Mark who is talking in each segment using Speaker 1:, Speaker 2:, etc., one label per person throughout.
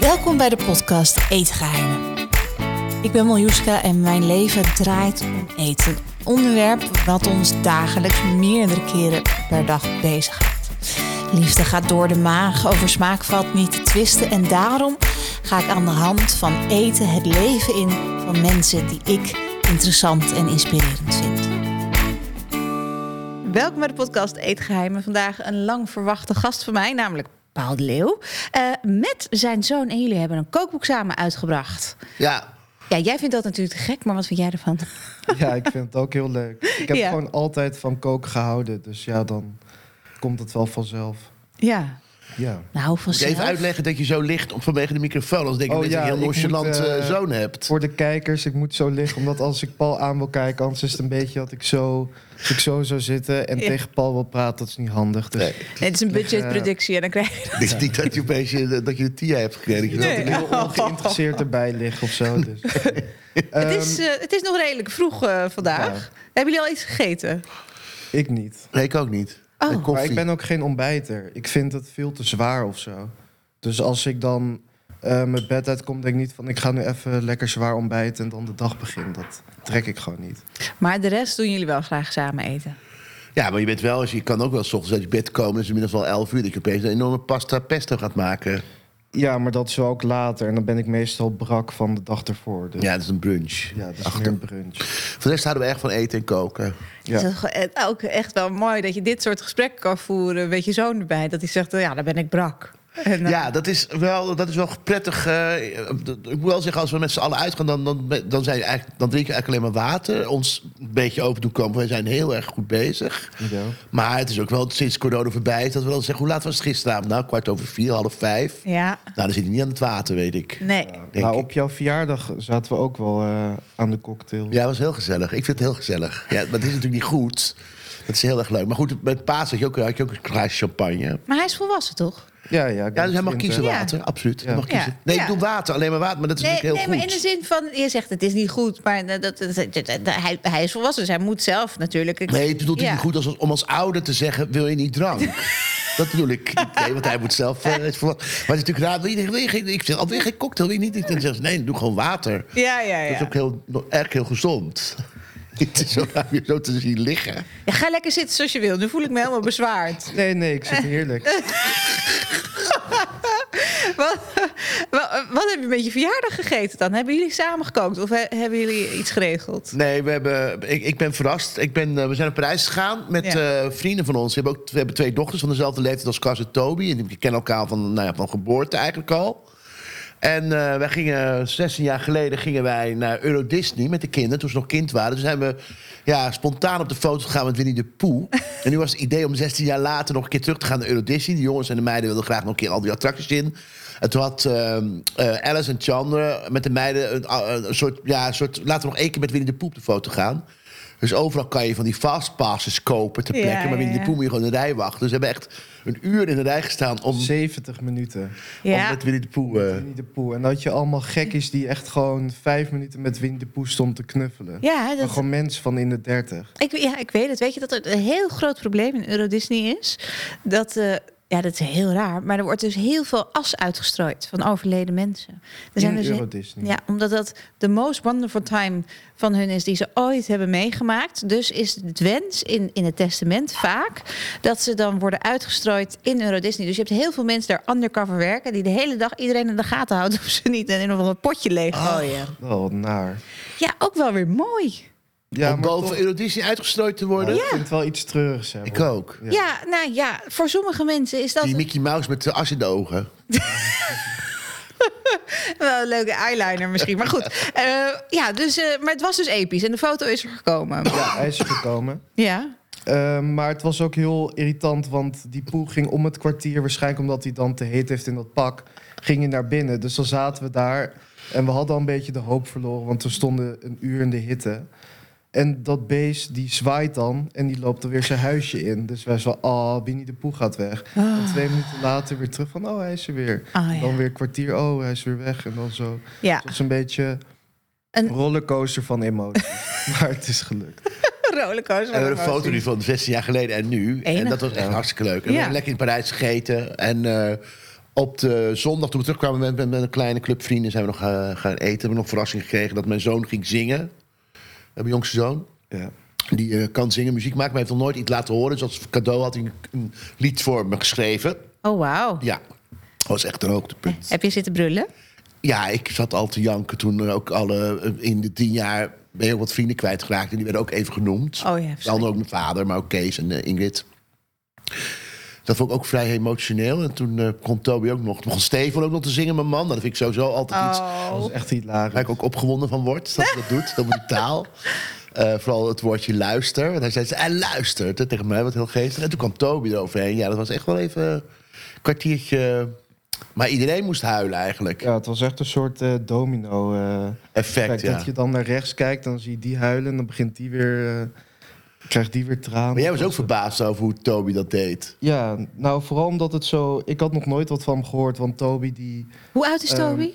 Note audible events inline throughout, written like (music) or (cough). Speaker 1: Welkom bij de podcast Eetgeheimen. Ik ben Miljuska en mijn leven draait om eten. Een onderwerp wat ons dagelijks meerdere keren per dag bezighoudt. Liefde gaat door de maag, over smaak valt niet te twisten. En daarom ga ik aan de hand van eten het leven in van mensen die ik interessant en inspirerend vind. Welkom bij de podcast Eetgeheimen. Vandaag een lang verwachte gast van mij, namelijk Paul de Leeuw. eh, met zijn zoon en jullie hebben een kookboek samen uitgebracht.
Speaker 2: Ja,
Speaker 1: Ja, jij vindt dat natuurlijk te gek, maar wat vind jij ervan?
Speaker 3: (laughs) Ja, ik vind het ook heel leuk. Ik heb
Speaker 1: Ja.
Speaker 3: gewoon altijd van koken gehouden. Dus ja, dan komt het wel vanzelf.
Speaker 1: Ja,
Speaker 3: Ja.
Speaker 1: nou
Speaker 2: moet je
Speaker 1: vanzelf.
Speaker 2: even uitleggen dat je zo ligt om- vanwege de microfoon. Anders denk ik
Speaker 3: Oh
Speaker 2: dat je
Speaker 3: ja,
Speaker 2: een heel
Speaker 3: ik moet,
Speaker 2: nonchalant
Speaker 3: eh,
Speaker 2: eh, zoon
Speaker 3: (laughs)
Speaker 2: hebt.
Speaker 3: Voor de kijkers, ik moet zo liggen. Omdat als ik Paul aan wil kijken, anders is het een beetje dat ik zo, als ik zo zou zitten en
Speaker 1: Ja.
Speaker 3: tegen Paul wil praten. Dat is niet handig. Dus
Speaker 2: Nee,
Speaker 1: Nee, het is een budgetproductie en dan krijg je...
Speaker 2: het is niet dat je opeens eh, dat je een TIA hebt gekregen. Dat
Speaker 1: Nee.
Speaker 2: je
Speaker 3: ik heel ongeïnteresseerd erbij liggen of zo. Dus. Ehm,
Speaker 1: (laughs) het, is, eh, het is nog redelijk vroeg eh, vandaag. Hebben jullie al iets gegeten?
Speaker 3: Ehm, ik niet.
Speaker 2: Nee, ik ook niet.
Speaker 1: Oh.
Speaker 2: Met
Speaker 3: Maar
Speaker 2: koffie.
Speaker 3: ik ben ook geen ontbijter. Ik vind het veel te zwaar of zo. Dus als ik dan eh, mijn bed uitkom, denk ik niet van ik ga nu even lekker zwaar ontbijten en dan de dag begin. Dat trek ik gewoon niet.
Speaker 1: Maar de rest doen jullie wel graag samen eten.
Speaker 2: Ja, maar je bent wel, je kan ook wel 's ochtends uit je bed komen. Het is inmiddels wel 11 uur dat je opeens een enorme pasta pesto gaat maken.
Speaker 3: Ja, maar dat is wel ook later. En dan ben ik meestal brak van de dag ervoor. Dus,
Speaker 2: Ja, dat is een brunch.
Speaker 3: ja, dat is
Speaker 2: Achter-
Speaker 3: meer een brunch.
Speaker 2: Voor de rest houden we echt van eten en koken.
Speaker 3: Ja.
Speaker 1: Het is toch, eh, ook echt wel mooi dat je dit soort gesprekken kan voeren met je zoon erbij. Dat hij zegt, eh, ja, daar ben ik brak. En, eh,
Speaker 2: Ja, dat is wel, dat is wel prettig. eh, ik moet wel zeggen, als we met z'n allen uitgaan, dan, dan, dan, zijn we eigenlijk, dan drinken we eigenlijk alleen maar water. Ons een beetje over doen komen. Wij zijn heel erg goed bezig.
Speaker 3: Ja.
Speaker 2: Maar het is ook wel sinds corona voorbij is dat we wel zeggen, hoe laat was het gisteravond? Nou, kwart over vier, half vijf.
Speaker 1: ja.
Speaker 2: Nou, dan zit hij niet aan het water, weet ik.
Speaker 1: Nee.
Speaker 2: Denk
Speaker 3: Nou,
Speaker 2: ik.
Speaker 3: op jouw verjaardag zaten we ook wel eh, aan de cocktail.
Speaker 2: Ja, het was heel gezellig. Ik vind het heel gezellig. Ja, maar het is natuurlijk niet goed. Dat is heel erg leuk. Maar goed, met Paas had je ook, had je ook een glaasje champagne.
Speaker 1: Maar hij is volwassen, toch?
Speaker 3: Ja, ja. ik
Speaker 2: Ja,
Speaker 3: ben
Speaker 2: dus hij mag
Speaker 3: 20.
Speaker 2: kiezen
Speaker 1: eh, Ja.
Speaker 2: water, absoluut. Hij mag
Speaker 1: Ja.
Speaker 2: kiezen. Nee,
Speaker 1: Ja.
Speaker 2: ik doe water, alleen maar water. Maar dat is
Speaker 1: Nee,
Speaker 2: natuurlijk
Speaker 1: nee
Speaker 2: heel
Speaker 1: maar in
Speaker 2: goed.
Speaker 1: de zin van, je zegt het is niet goed, maar dat, dat, dat- dat- dat- hij, hij is volwassen, dus hij moet zelf natuurlijk. Ik-
Speaker 2: Nee, het bedoelt
Speaker 1: Ja.
Speaker 2: niet goed als, om als ouder te zeggen: wil je niet
Speaker 1: (laughs)
Speaker 2: drank? Dat bedoel ik. niet. Nee, want hij moet zelf. eh, het voor- maar het is natuurlijk raar. Wil je, wil je geen, ik zeg alweer geen cocktail, wil je niet? En dan zegt ze, nee, doe gewoon water.
Speaker 1: Ja, ja,
Speaker 2: Dat is
Speaker 1: ja.
Speaker 2: ook heel, erg heel gezond. (laughs) Het is zo raar je zo te zien liggen.
Speaker 1: Ja, Ga lekker zitten zoals je wil. Nu voel ik me helemaal
Speaker 2: (laughs)
Speaker 1: bezwaard.
Speaker 3: Nee, nee, ik zit heerlijk.
Speaker 1: Wat, wat, wat heb je met je verjaardag gegeten dan? Hebben jullie samen gekookt of he- hebben jullie iets geregeld?
Speaker 2: Nee, we hebben, ik, ik ben verrast. Ik ben, eh, we zijn naar Parijs gegaan met
Speaker 1: Ja.
Speaker 2: eh, vrienden van ons. We hebben, ook, we hebben twee dochters van dezelfde leeftijd als Cas en Toby. En die kennen elkaar van, nou ja, van geboorte eigenlijk al. En eh, wij gingen, 16 jaar geleden gingen wij naar Euro Disney met de kinderen. Toen ze nog kind waren. Toen zijn we ja, spontaan op de foto gegaan met Winnie de
Speaker 1: (laughs)
Speaker 2: Pooh. en nu was het idee om 16 jaar later nog een keer terug te gaan naar Euro Disney. De jongens en de meiden wilden graag nog een keer al die attracties in. En toen had ehm, eh, Alice en Chandra met de meiden een, een soort, ja, een soort... Laten we nog één keer met Winnie de Pooh op de foto gaan. Dus overal kan je van die fastpasses kopen ter
Speaker 1: Ja,
Speaker 2: plekke.
Speaker 1: ja,
Speaker 2: maar Winnie
Speaker 1: ja.
Speaker 2: de Pooh moet je gewoon in de rij wachten. Dus we hebben echt een uur in de rij gestaan (laughs) om,
Speaker 3: 70 minuten.
Speaker 2: om
Speaker 1: Ja.
Speaker 2: met Winnie de Pooh... eh,
Speaker 3: Winnie de Poe. En dat je allemaal gekkies die echt gewoon vijf minuten met Winnie de Poe stond te knuffelen.
Speaker 1: Ja,
Speaker 3: Maar
Speaker 1: dat,
Speaker 3: gewoon mensen van in de 30.
Speaker 1: Ik, ja, ik weet het. Weet je dat het een heel groot probleem in Euro Disney is? Dat, eh, ja, dat is heel raar. Maar er wordt dus heel veel as uitgestrooid van overleden mensen. Er
Speaker 3: in
Speaker 1: dus
Speaker 3: Euro Disney.
Speaker 1: ja, omdat dat de most wonderful time van hun is die ze ooit hebben meegemaakt. Dus is het wens in, in het testament vaak dat ze dan worden uitgestrooid in Euro Disney. Dus je hebt heel veel mensen daar undercover werken die de hele dag iedereen in de gaten houden of ze niet in een of ander potje leeggooien.
Speaker 3: Wel naar.
Speaker 1: Ja, ook wel weer mooi.
Speaker 3: Ja,
Speaker 2: om
Speaker 3: maar
Speaker 2: boven
Speaker 3: toch-
Speaker 2: Euro Disney uitgestrooid te worden.
Speaker 3: ik vind het wel iets treurigs hebben.
Speaker 2: Ik ook.
Speaker 1: Ja. nou ja, voor sommige mensen is dat
Speaker 2: Die Mickey Mouse met de as in de ogen.
Speaker 1: Wel een leuke eyeliner misschien, maar goed. Eh, ja, dus, eh, maar het was dus episch en de foto is er gekomen.
Speaker 3: Ja, hij is er gekomen.
Speaker 1: Ja.
Speaker 3: Eh, maar het was ook heel irritant, want die poe ging om het kwartier. Waarschijnlijk omdat hij dan te heet heeft in dat pak. Ging hij naar binnen. Dus dan zaten we daar. En we hadden al een beetje de hoop verloren, want we stonden een uur in de hitte. En dat beest die zwaait dan en die loopt dan weer zijn huisje in. Dus wij zo, ah, Winnie de Poe gaat weg. En twee minuten later weer terug van, oh, hij is er weer.
Speaker 1: Ah,
Speaker 3: En
Speaker 1: ja.
Speaker 3: Dan weer een kwartier, oh, hij is weer weg. En dan zo.
Speaker 1: ja.
Speaker 3: Het was een beetje
Speaker 1: Een-
Speaker 3: een rollercoaster
Speaker 1: (laughs)
Speaker 3: van emoties. maar het is gelukt.
Speaker 1: Rollercoaster.
Speaker 2: We hebben een foto nu van 16 jaar geleden en nu.
Speaker 1: Enig.
Speaker 2: En dat was echt hartstikke leuk. En we
Speaker 1: Ja.
Speaker 2: hebben lekker in Parijs gegeten. En eh, op de zondag, toen we terugkwamen met, met, met een kleine club vrienden, zijn we nog eh, gaan eten. Hebben we nog een verrassing gekregen dat mijn zoon ging zingen. Eh, Mijn jongste zoon.
Speaker 3: Ja.
Speaker 2: Die eh, kan zingen, muziek maken, maar heeft nog nooit iets laten horen. Dus als cadeau had hij een, een lied voor me geschreven.
Speaker 1: Oh, wauw.
Speaker 2: Ja, dat was echt een hoogtepunt.
Speaker 1: Heb je zitten brullen?
Speaker 2: Ja, ik zat al te janken toen er ook alle eh, in de tien jaar ben heel wat vrienden kwijtgeraakt. En die werden ook even genoemd.
Speaker 1: Oh ja,
Speaker 2: Wel ook mijn vader, maar ook Kees en eh, Ingrid. Dat vond ik ook vrij emotioneel. En toen eh kon Toby ook nog. Toen begon Steven ook nog te zingen, mijn man. Nou, Dat vind ik sowieso altijd iets
Speaker 3: Dat
Speaker 1: Oh.
Speaker 3: is echt
Speaker 2: waar
Speaker 3: hilarisch.
Speaker 2: ik ook opgewonden van word. Dat hij dat doet, dat die
Speaker 1: (laughs)
Speaker 2: taal. Eh, vooral het woordje luister. Want hij zei, hij luistert hè, tegen mij, wat heel geestig. En toen kwam Toby eroverheen. Ja, dat was echt wel even een kwartiertje. Maar iedereen moest huilen eigenlijk.
Speaker 3: Ja, het was echt een soort eh, domino. eh,
Speaker 2: Effect,
Speaker 3: Kijk,
Speaker 2: ja.
Speaker 3: dat je dan naar rechts kijkt, dan zie je die huilen en dan begint die weer, eh, krijgt die weer tranen.
Speaker 2: Maar jij was ook verbaasd over hoe Toby dat deed.
Speaker 3: Ja, nou vooral omdat het zo, ik had nog nooit wat van hem gehoord, want Toby die
Speaker 1: Hoe oud is
Speaker 3: Ehm,
Speaker 1: Toby?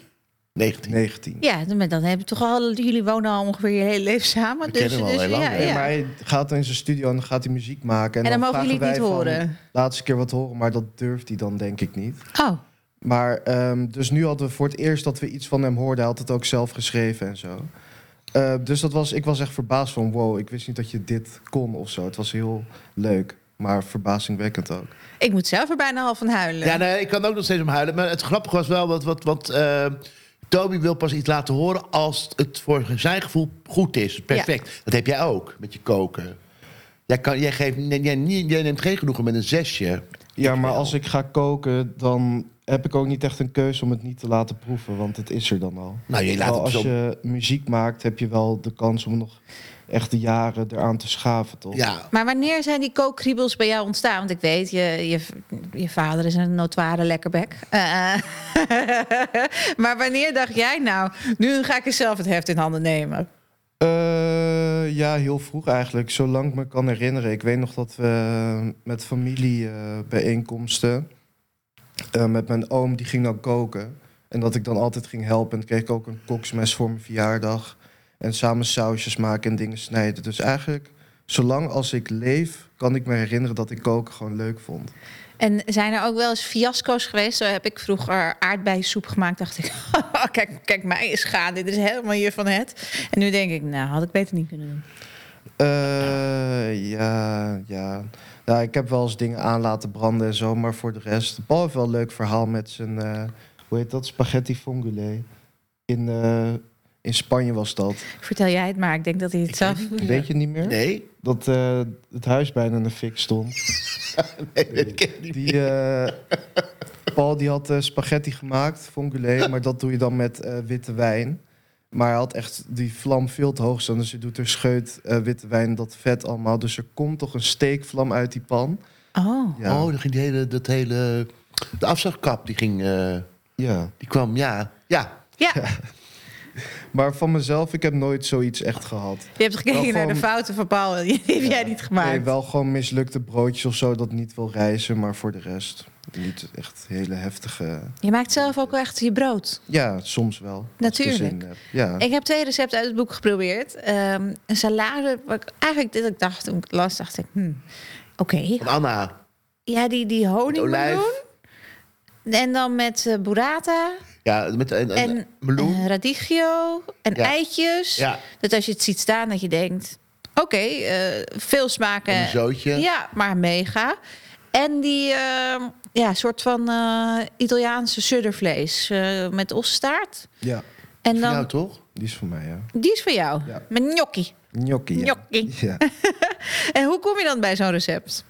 Speaker 2: 19.
Speaker 3: 19.
Speaker 1: ja, dan, maar dan hebben toch al, jullie wonen al ongeveer je hele leven samen.
Speaker 2: We
Speaker 1: dus,
Speaker 2: kennen hem al
Speaker 1: dus,
Speaker 2: heel lang,
Speaker 1: ja,
Speaker 2: hè?
Speaker 3: Nee,
Speaker 1: ja.
Speaker 3: maar hij gaat dan in zijn studio en dan gaat hij muziek maken. En,
Speaker 1: En dan mogen
Speaker 3: vragen
Speaker 1: jullie het niet
Speaker 3: wij van,
Speaker 1: horen.
Speaker 3: Laat eens een keer wat horen, maar dat durft hij dan denk ik niet.
Speaker 1: Oh,
Speaker 3: Maar ehm, dus nu hadden we voor het eerst dat we iets van hem hoorden. Hij had het ook zelf geschreven en zo. Eh, dus dat was, ik was echt verbaasd van wow, ik wist niet dat je dit kon of zo. Het was heel leuk, maar verbazingwekkend ook.
Speaker 1: ik moet zelf er bijna al van huilen.
Speaker 2: Ja, nee, ik kan ook nog steeds om huilen. Maar het grappige was wel, wat, wat, wat eh, Toby wil pas iets laten horen als het voor zijn gevoel goed is. Perfect. Dat heb jij ook met je koken. Jij, kan, jij, geeft, nee, jij, niet- jij neemt geen genoegen met een zesje.
Speaker 3: Ja, maar
Speaker 2: wel.
Speaker 3: als ik ga koken, dan heb ik ook niet echt een keuze om het niet te laten proeven, want het is er dan al.
Speaker 2: Nou, je laat
Speaker 3: Terwijl
Speaker 2: het
Speaker 3: als
Speaker 2: zo.
Speaker 3: je muziek maakt, heb je wel de kans om nog echt de jaren eraan te schaven, toch?
Speaker 2: Ja,
Speaker 1: Maar wanneer zijn die kookkriebels bij jou ontstaan? Want ik weet, je, je, je vader is een notoire lekkerbek. Eh, (laughs) eh. maar wanneer dacht jij nou, nu ga ik eens zelf het heft in handen nemen?
Speaker 3: Eh, ja, heel vroeg eigenlijk. Zolang ik me kan herinneren. Ik weet nog dat we met familiebijeenkomsten... eh, met mijn oom, die ging dan koken. En dat ik dan altijd ging helpen. En dan kreeg ik ook een koksmes voor mijn verjaardag. En samen sausjes maken en dingen snijden. Dus eigenlijk, zolang als ik leef... kan ik me herinneren dat ik koken gewoon leuk vond.
Speaker 1: En zijn er ook wel eens fiasco's geweest? Zo heb ik vroeger aardbeiensoep gemaakt. Dacht ik, (laughs) Oh, kijk, kijk mij is gaan. Dit is helemaal hier van het. En nu denk ik, nou, had ik beter niet kunnen doen.
Speaker 3: Eh, ja, ja. ja, ik heb wel eens dingen aan laten branden en zo, maar voor de rest. Paul heeft wel een leuk verhaal met zijn, eh, hoe heet dat, spaghetti fongule. In, eh, in Spanje was dat.
Speaker 1: Vertel jij het maar. Ik denk dat hij het zelf...
Speaker 3: Weet je het niet meer?
Speaker 2: nee.
Speaker 3: Dat eh, het huis bijna in de fik stond.
Speaker 2: nee dat ken ik niet.
Speaker 3: Die, eh, Paul die had eh, spaghetti gemaakt, fongule, maar dat doe je dan met eh, witte wijn. Maar hij had echt die vlam veel te hoog staan. Dus je doet er scheut eh, witte wijn, dat vet allemaal. Dus er komt toch een steekvlam uit die pan.
Speaker 1: Oh,
Speaker 3: Ja.
Speaker 2: Oh, dan ging die hele, dat hele... De afzagkap, die, ging, eh,
Speaker 3: Ja,
Speaker 2: die kwam, ja. Ja,
Speaker 1: ja.
Speaker 3: maar van mezelf, ik heb nooit zoiets echt gehad.
Speaker 1: Je hebt gekeken
Speaker 3: Wel
Speaker 1: naar de
Speaker 3: gewoon-
Speaker 1: fouten van Paul. (laughs) Die heb jij niet gemaakt.
Speaker 3: Nee, wel gewoon mislukte broodjes of zo dat niet wil reizen, maar voor de rest niet echt hele heftige.
Speaker 1: Je maakt zelf ook echt je brood.
Speaker 3: Ja, soms wel. als ik er
Speaker 1: Natuurlijk.
Speaker 3: zin in heb. Ja.
Speaker 1: Ik heb twee recepten uit het boek geprobeerd. Ehm, een salade, wat ik eigenlijk dit ik dacht toen ik het las, dacht ik, hmm, oké.
Speaker 2: van Anna.
Speaker 1: Ja, die, die honing
Speaker 2: olijf.
Speaker 1: En dan met eh, burrata
Speaker 2: Ja, met een, een
Speaker 1: en
Speaker 2: meloen.
Speaker 1: eh, radicchio en
Speaker 2: Ja.
Speaker 1: eitjes.
Speaker 2: ja,
Speaker 1: Dat als je het ziet staan, dat je denkt, oké, eh, veel smaken.
Speaker 2: een zootje.
Speaker 1: Ja, maar mega. En die ehm, ja, soort van eh, Italiaanse suddervlees eh, met osstaart.
Speaker 3: ja,
Speaker 1: En
Speaker 2: Van
Speaker 1: dan,
Speaker 2: jou toch?
Speaker 3: die is voor mij, ja.
Speaker 1: die is voor jou.
Speaker 3: Ja.
Speaker 1: Met gnocchi.
Speaker 3: Gnocchi. Ja.
Speaker 1: Gnocchi.
Speaker 3: (laughs) Ja.
Speaker 1: En hoe kom je dan bij zo'n recept?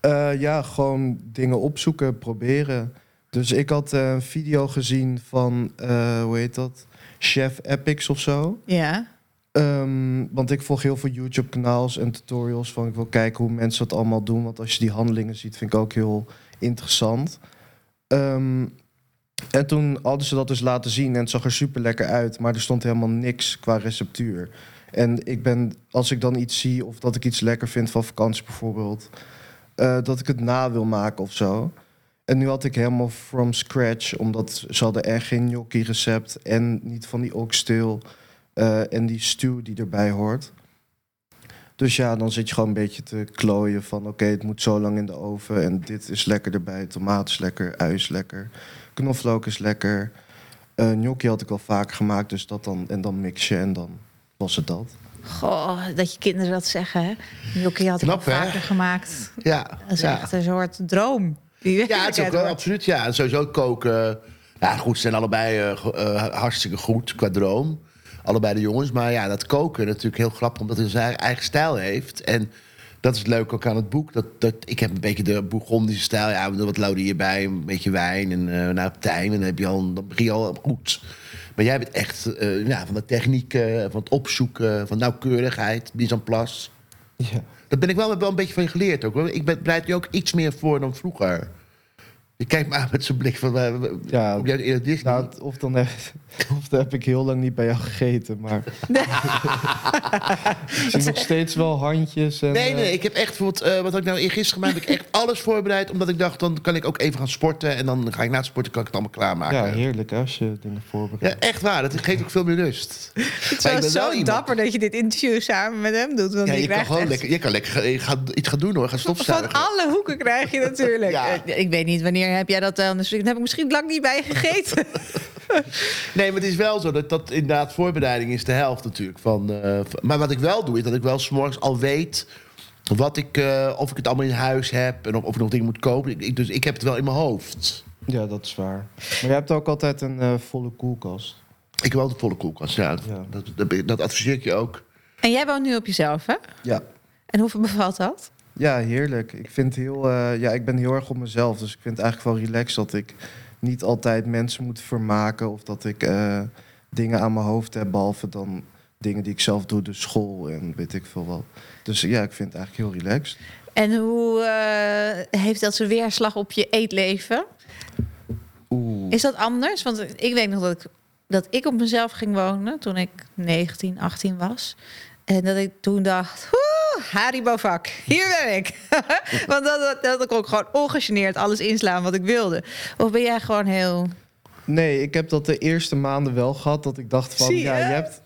Speaker 3: Eh, ja, gewoon dingen opzoeken, proberen. Dus ik had eh, een video gezien van, eh, hoe heet dat? Chef Epics of zo.
Speaker 1: Ja.
Speaker 3: Ehm, want ik volg heel veel YouTube-kanaals en tutorials van ik wil kijken hoe mensen dat allemaal doen. Want als je die handelingen ziet, vind ik ook heel interessant. Ehm, en toen hadden ze dat dus laten zien en het zag er super lekker uit, maar er stond helemaal niks qua receptuur. En ik ben, als ik dan iets zie of dat ik iets lekker vind van vakantie bijvoorbeeld, eh, dat ik het na wil maken of zo. En nu had ik helemaal from scratch, omdat ze hadden echt geen gnocchi recept en niet van die okstil eh, en die stew die erbij hoort. Dus ja, dan zit je gewoon een beetje te klooien van... oké, het moet zo lang in de oven en dit is lekker erbij. Tomaat is lekker, ui is lekker, knoflook is lekker. Eh gnocchi had ik al vaak gemaakt, dus dat dan... en dan mix je en dan was het dat.
Speaker 1: Goh, dat je kinderen dat zeggen, hè? Jokie had ik
Speaker 2: Knap,
Speaker 1: al
Speaker 2: hè?
Speaker 1: vaker gemaakt.
Speaker 2: Ja,
Speaker 1: Dat is
Speaker 2: ja.
Speaker 1: echt een soort droom. Die
Speaker 2: ja het is ook
Speaker 1: werkelijkheid
Speaker 2: wel,
Speaker 1: wordt.
Speaker 2: absoluut. Ja, en sowieso koken. Ja, goed, ze zijn allebei eh, go- eh, hartstikke goed qua droom. Allebei de jongens. Maar ja, dat koken natuurlijk heel grappig, omdat hij zijn eigen stijl heeft. En dat is het leuke ook aan het boek. Dat, dat, ik heb een beetje de Bourgondische stijl. Ja, we doen wat laurier bij, een beetje wijn en eh nou, tijm. En dan, heb je al, dan begin je al goed. Maar jij bent echt eh, ja, van de techniek, eh, van het opzoeken, van nauwkeurigheid, mise en place.
Speaker 3: Ja.
Speaker 2: Dat ben ik wel, wel een beetje van je geleerd ook. hoor. Ik ben, bereid nu ook iets meer voor dan vroeger. Je kijkt me aan met zijn blik van... eh, w-
Speaker 3: Ja,
Speaker 2: kom jij uit eerder Disney?
Speaker 3: Nou, het- of, dan heb, (laughs) of dan heb ik heel lang niet bij jou gegeten, maar... (laughs) ik zie nog steeds wel handjes en...
Speaker 2: nee,
Speaker 3: eh,
Speaker 2: nee, ik heb echt bijvoorbeeld... eh, wat had ik nou eergisteren gemaakt? heb ik echt alles voorbereid. Omdat ik dacht, dan kan ik ook even gaan sporten. En dan ga ik na het sporten, kan ik het allemaal
Speaker 3: ja,
Speaker 2: klaarmaken. Ja,
Speaker 3: heerlijk hè, als je dingen voorbereidt.
Speaker 2: echt waar. Dat geeft ook veel meer rust.
Speaker 1: Het
Speaker 2: Maar ik
Speaker 1: is
Speaker 2: ben wel
Speaker 1: wel zo
Speaker 2: iemand-
Speaker 1: dapper dat je dit interview samen met hem doet. Want
Speaker 2: Ja,
Speaker 1: die
Speaker 2: je kan
Speaker 1: krijgt
Speaker 2: gewoon
Speaker 1: echt-
Speaker 2: lekker, je kan lekker eh, gaan, iets gaan doen hoor. Gaan
Speaker 1: Van
Speaker 2: stofzuigen.
Speaker 1: alle hoeken krijg je natuurlijk.
Speaker 2: Ja.
Speaker 1: Eh, Ik weet niet, wanneer heb jij dat dan? Dus daar heb ik misschien lang niet bij gegeten.
Speaker 2: Nee, maar het is wel zo dat, dat inderdaad voorbereiding is de helft natuurlijk. Van, eh, van- maar wat ik wel doe, is dat ik wel s'morgens al weet wat ik, eh, of ik het allemaal in huis heb en of, of ik nog dingen moet kopen. Ik- ik- dus ik heb het wel in mijn hoofd.
Speaker 3: Ja, dat is waar. Maar je hebt ook altijd een eh, volle koelkast.
Speaker 2: Ik heb wel de volle koelkast. Ja,
Speaker 3: Ja.
Speaker 2: Dat, dat, dat adviseer ik je ook.
Speaker 1: En jij woont nu op jezelf, hè?
Speaker 3: Ja.
Speaker 1: En hoeveel bevalt dat?
Speaker 3: Ja, heerlijk. Ik, vind heel, eh, ja, ik ben heel erg op mezelf, dus ik vind het eigenlijk wel relaxed dat ik niet altijd mensen moet vermaken of dat ik eh, dingen aan mijn hoofd heb, behalve dan dingen die ik zelf doe, dus school en weet ik veel wat. Dus ja, ik vind het eigenlijk heel relaxed.
Speaker 1: En hoe eh, heeft dat zijn weerslag op je eetleven?
Speaker 3: Oeh.
Speaker 1: Is dat anders? Want ik weet nog dat ik, dat ik op mezelf ging wonen toen ik 19, 18 was. En dat ik toen dacht, "Oeh, Haribo vak, hier ben ik. (laughs) Want dat, dat, dat kon ik gewoon ongegeneerd alles inslaan wat ik wilde. Of ben jij gewoon heel...
Speaker 3: Nee, ik heb dat de eerste maanden wel gehad, dat ik dacht van,
Speaker 1: Zie je?
Speaker 3: ja, je hebt...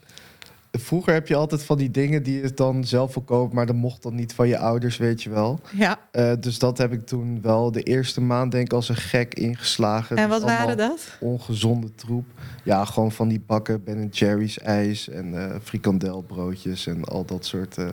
Speaker 3: Vroeger heb je altijd van die dingen die je dan zelf wil kopen, maar dat mocht dan niet van je ouders, weet je wel.
Speaker 1: Ja,
Speaker 3: Eh, dus dat heb ik toen wel de eerste maand denk ik als een gek ingeslagen.
Speaker 1: en
Speaker 3: Dus
Speaker 1: wat waren
Speaker 3: allemaal
Speaker 1: dat?
Speaker 3: Ongezonde troep. Ja, gewoon van die bakken Ben Jerry's ijs en eh frikandelbroodjes en al dat soort. eh.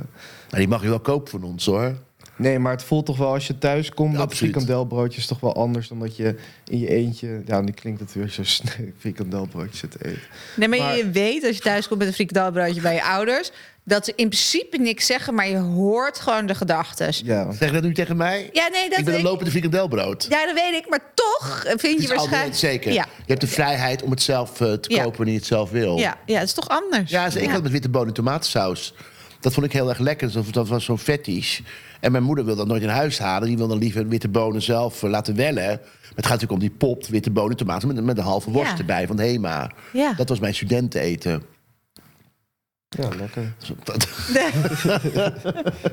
Speaker 2: Maar die mag je wel kopen van ons hoor.
Speaker 3: Nee, maar het voelt toch wel als je thuis komt met
Speaker 2: Absoluut.
Speaker 3: frikandelbroodjes toch wel anders dan dat je in je eentje. Ja, nu klinkt het weer zo (laughs) sneu, frikandelbroodjes zit te eten.
Speaker 1: Nee, maar,
Speaker 3: Maar-
Speaker 1: je weet als je thuis komt met een frikandelbroodje bij je ouders... dat ze in principe niks zeggen, maar je hoort gewoon de gedachten.
Speaker 3: Ja.
Speaker 2: Zeg je dat nu tegen mij?
Speaker 1: Ja, nee, dat
Speaker 2: ik ben een
Speaker 1: ik-
Speaker 2: lopende frikandelbrood.
Speaker 1: Ja, dat weet ik, maar toch vind
Speaker 2: Het
Speaker 1: je
Speaker 2: is altijd
Speaker 1: waarschijnlijk...
Speaker 2: zeker.
Speaker 1: Ja.
Speaker 2: Je hebt de vrijheid om het zelf eh, te
Speaker 1: Ja.
Speaker 2: kopen wanneer je het zelf wil.
Speaker 1: Ja, ja, het is toch anders.
Speaker 2: Oh. Ja, ze- ik had met witte bonen en tomatensaus. Dat vond ik heel erg lekker. Dat, dat was zo'n fetish. En mijn moeder wil dat nooit in huis halen. Die wil dan liever witte bonen zelf eh, laten wellen. Maar het gaat natuurlijk om die pop, witte bonen, tomaten... met, met een halve worst
Speaker 1: Ja.
Speaker 2: erbij van Hema.
Speaker 1: Ja.
Speaker 2: Dat was mijn studenteneten.
Speaker 3: ja, lekker.
Speaker 2: Dat-
Speaker 3: (laughs)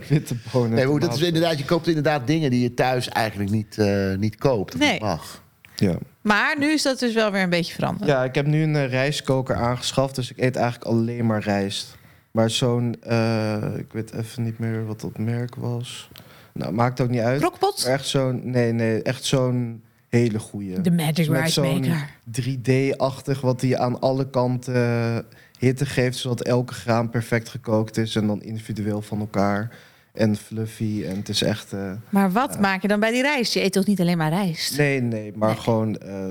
Speaker 3: Witte bonen.
Speaker 2: Nee, maar goed, dat is
Speaker 3: tomaten.
Speaker 2: inderdaad, je koopt inderdaad dingen die je thuis eigenlijk niet, eh, niet koopt. of
Speaker 1: Nee.
Speaker 2: niet Mag.
Speaker 3: Ja.
Speaker 1: (laughs) Maar nu is dat dus wel weer een beetje veranderd.
Speaker 3: Ja, ik heb nu een eh, rijstkoker aangeschaft, dus ik eet eigenlijk alleen maar rijst. Maar zo'n, eh, ik weet even niet meer wat dat merk was. Nou, maakt ook niet uit.
Speaker 1: Crockpot?
Speaker 3: Maar echt zo'n, nee, nee, echt zo'n hele goeie.
Speaker 1: De Magic
Speaker 3: Dus met
Speaker 1: Rice
Speaker 3: zo'n
Speaker 1: Maker.
Speaker 3: 3D-achtig, wat die aan alle kanten eh, hitte geeft, zodat elke graan perfect gekookt is en dan individueel van elkaar. En fluffy, en het is echt... eh,
Speaker 1: Maar wat maak je dan bij die rijst? Je eet toch niet alleen maar rijst?
Speaker 3: nee, nee, maar
Speaker 1: Nee.
Speaker 3: gewoon eh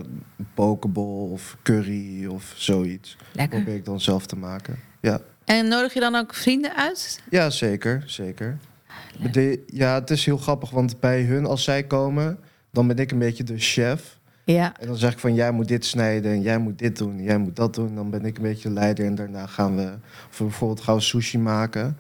Speaker 3: pokeball of curry of zoiets.
Speaker 1: Lekker.
Speaker 3: Probeer ik dan zelf te maken. Ja,
Speaker 1: En nodig je dan ook vrienden uit?
Speaker 3: ja zeker, zeker. Maar de- ja, het is heel grappig, want bij hun, als zij komen, dan ben ik een beetje de chef.
Speaker 1: Ja.
Speaker 3: En dan zeg ik van, jij moet dit snijden en jij moet dit doen en jij moet dat doen. Dan ben ik een beetje de leider en daarna gaan we, of bijvoorbeeld gaan we sushi maken.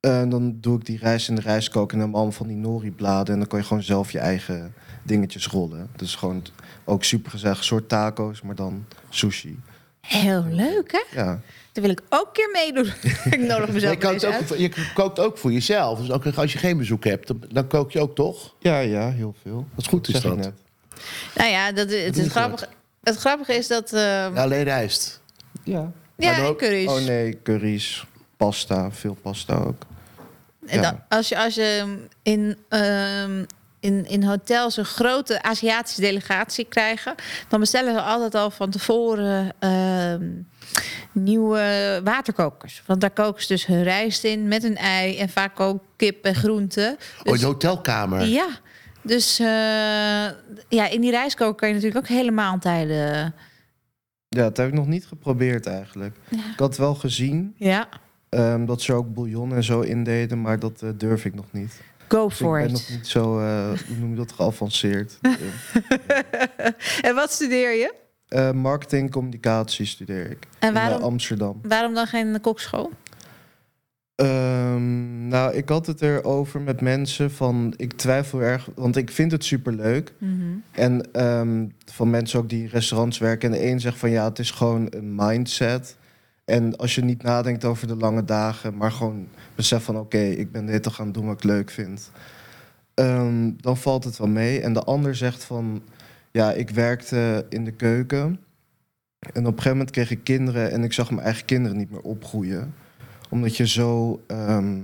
Speaker 3: En dan doe ik die rijst in de rijstkoker en dan allemaal van die nori-bladen. En dan kan je gewoon zelf je eigen dingetjes rollen. Dus gewoon t- ook super gezellig, soort taco's, maar dan sushi.
Speaker 1: Heel leuk, hè?
Speaker 3: Ja.
Speaker 1: Daar wil ik ook een keer meedoen. (laughs) ik nodig
Speaker 2: Je,
Speaker 1: mezelf
Speaker 2: kookt
Speaker 1: eens uit.
Speaker 2: ook, je kookt ook voor jezelf. Dus ook als je geen bezoek hebt, dan, dan kook je ook toch?
Speaker 3: ja, ja, heel veel.
Speaker 2: Dat is goed, is
Speaker 3: Zeg ik
Speaker 2: dat?
Speaker 3: net.
Speaker 1: Nou ja, dat, het, is
Speaker 2: niet
Speaker 1: grappig, het grappige is dat... eh,
Speaker 2: Ja, alleen rijst.
Speaker 3: Ja.
Speaker 1: ja,
Speaker 2: maar dan
Speaker 1: en
Speaker 2: ook-
Speaker 1: curry's.
Speaker 3: Oh nee, curry's, pasta, veel pasta ook.
Speaker 2: Ja.
Speaker 1: dan- als, je, als je in, ehm, in, in hotels een grote Aziatische delegatie krijgen, dan bestellen ze altijd al van tevoren ehm, nieuwe waterkokers. Want daar koken ze dus hun rijst in met een ei en vaak ook kip en groenten.
Speaker 2: Oh,
Speaker 1: Dus-
Speaker 2: in de hotelkamer.
Speaker 1: ja, dus eh, ja, in die rijstkoker kan je natuurlijk ook hele maaltijden.
Speaker 3: Ja, dat heb ik nog niet geprobeerd eigenlijk.
Speaker 1: Ja.
Speaker 3: Ik had wel gezien
Speaker 1: Ja,
Speaker 3: ehm, dat ze ook bouillon en zo indeden, maar dat eh, durf ik nog niet.
Speaker 1: go
Speaker 3: Dus ik
Speaker 1: for
Speaker 3: ben
Speaker 1: it.
Speaker 3: nog niet zo, eh, hoe noem je dat, geavanceerd.
Speaker 1: (laughs) en wat studeer je?
Speaker 3: Eh, marketing en communicatie studeer ik.
Speaker 1: En
Speaker 3: In
Speaker 1: waarom,
Speaker 3: eh, Amsterdam.
Speaker 1: waarom dan geen kokschool?
Speaker 3: Ehm, nou, ik had het erover met mensen van, ik twijfel erg, want ik vind het superleuk.
Speaker 1: Mhm.
Speaker 3: En ehm, van mensen ook die in restaurants werken. En de een zegt van ja, het is gewoon een mindset. En als je niet nadenkt over de lange dagen, maar gewoon beseft van oké, ik ben dit te gaan doen wat ik leuk vind. ehm, dan valt het wel mee. En de ander zegt van ja, ik werkte in de keuken. En op een gegeven moment kreeg ik kinderen en ik zag mijn eigen kinderen niet meer opgroeien. Omdat je zo ehm,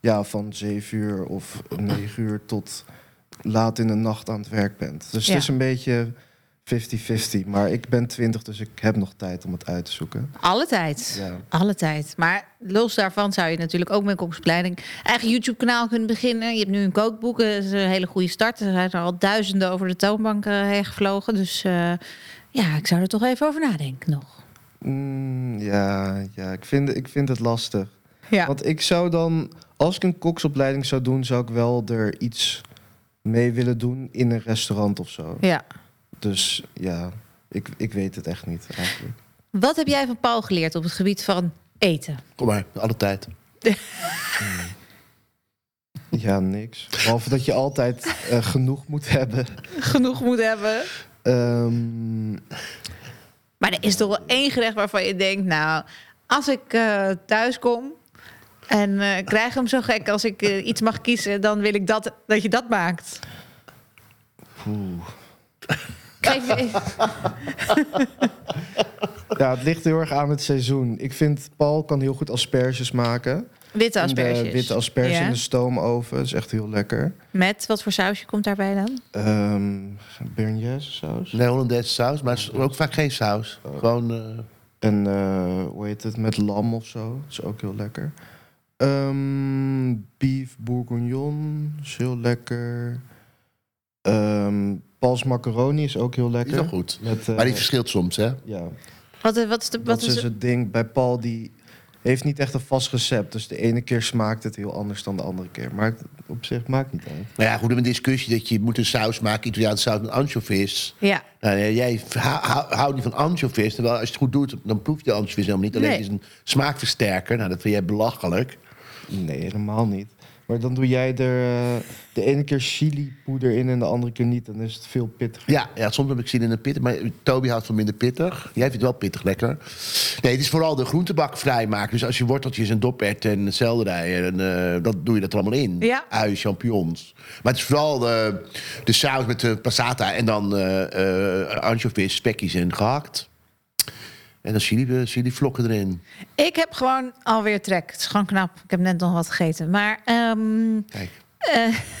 Speaker 3: ja, van zeven uur of negen uur tot laat in de nacht aan het werk bent. Dus
Speaker 1: Ja.
Speaker 3: het is een beetje 50-50. Maar ik ben 20, dus ik heb nog tijd om het uit te zoeken.
Speaker 1: Alle tijd.
Speaker 3: Ja.
Speaker 1: Alle tijd. Maar los daarvan zou je natuurlijk ook met koksopleiding eigen YouTube-kanaal kunnen beginnen. Je hebt nu een kookboek, dat is een hele goede start. Er zijn er al duizenden over de toonbank eh, heen gevlogen. Dus eh, ja, ik zou er toch even over nadenken nog.
Speaker 3: Mm, ja, ja ik, vind, ik vind het lastig.
Speaker 1: Ja.
Speaker 3: Want ik zou dan, als ik een koksopleiding zou doen, zou ik wel er iets mee willen doen in een restaurant of zo.
Speaker 1: ja.
Speaker 3: Dus ja, ik, ik weet het echt niet
Speaker 1: (laughs)
Speaker 3: eigenlijk.
Speaker 1: Wat heb jij van Paul geleerd op het gebied van eten?
Speaker 2: Kom maar, alle tijd.
Speaker 3: Ja, niks. Behalve dat je altijd eh, genoeg moet hebben.
Speaker 1: Genoeg moet hebben.
Speaker 3: Ehm,
Speaker 1: Maar er is toch wel één gerecht waarvan je denkt, nou, als ik eh, thuis kom en eh, ik krijg hem zo gek, als ik eh, iets mag kiezen, dan wil ik dat, dat je dat maakt.
Speaker 3: oeh.
Speaker 1: Geef je-
Speaker 3: ja, het ligt heel erg aan het seizoen. Ik vind, Paul kan heel goed asperges maken.
Speaker 1: witte
Speaker 3: In de
Speaker 1: asperges.
Speaker 3: Witte asperges
Speaker 1: Ja.
Speaker 3: in de stoomoven. Dat is echt heel lekker.
Speaker 1: Met wat voor sausje komt daarbij dan?
Speaker 3: Ehm bearnaise saus.
Speaker 2: Nee, Hollandaise saus, maar het is ook vaak geen saus. Gewoon, eh,
Speaker 3: En eh, hoe heet het? Met lam of zo. Dat is ook heel lekker. Ehm, beef bourguignon is heel lekker. Ehm Pals macaroni is ook heel
Speaker 2: die is wel
Speaker 3: lekker.
Speaker 2: goed.
Speaker 3: Met, eh,
Speaker 2: Maar die verschilt soms, hè?
Speaker 3: ja,
Speaker 1: Wat, eh, wat is de. Wat
Speaker 3: dat is
Speaker 1: is
Speaker 3: dus
Speaker 1: de-
Speaker 3: het ding. Bij Paul die heeft niet echt een vast recept. Dus de ene keer smaakt het heel anders dan de andere keer. Maar het- op zich maakt niet uit.
Speaker 2: Nou ja, goed, een discussie dat je moet een saus maken, Italiaanse saus met anchovies.
Speaker 1: ja,
Speaker 2: Nou, ja, jij hou- hou- houdt niet van anchovies, terwijl als je het goed doet, dan proef je de anchovies helemaal niet. Alleen
Speaker 1: Nee.
Speaker 2: het is een smaakversterker. Nou, dat vind jij belachelijk.
Speaker 3: Nee, helemaal niet. Maar dan doe jij er eh, de ene keer chilipoeder in en de andere keer niet. Dan is het veel pittiger.
Speaker 2: Ja, ja soms heb ik zin in een pittig, maar Toby houdt van minder pittig. Jij vindt het wel pittig lekker. Nee, het is vooral de groentebak vrijmaken. Dus als je worteltjes en dopert en selderij, en, eh, dat doe je dat er allemaal in.
Speaker 1: Ja.
Speaker 2: Ui, champignons. Maar het is vooral de, de saus met de passata en dan eh eh anchovies, spekkies en gehakt. En dan chili, chili vlokken erin.
Speaker 1: ik heb gewoon alweer trek. Het is gewoon knap. Ik heb net nog wat gegeten. Maar ehm,
Speaker 2: Kijk.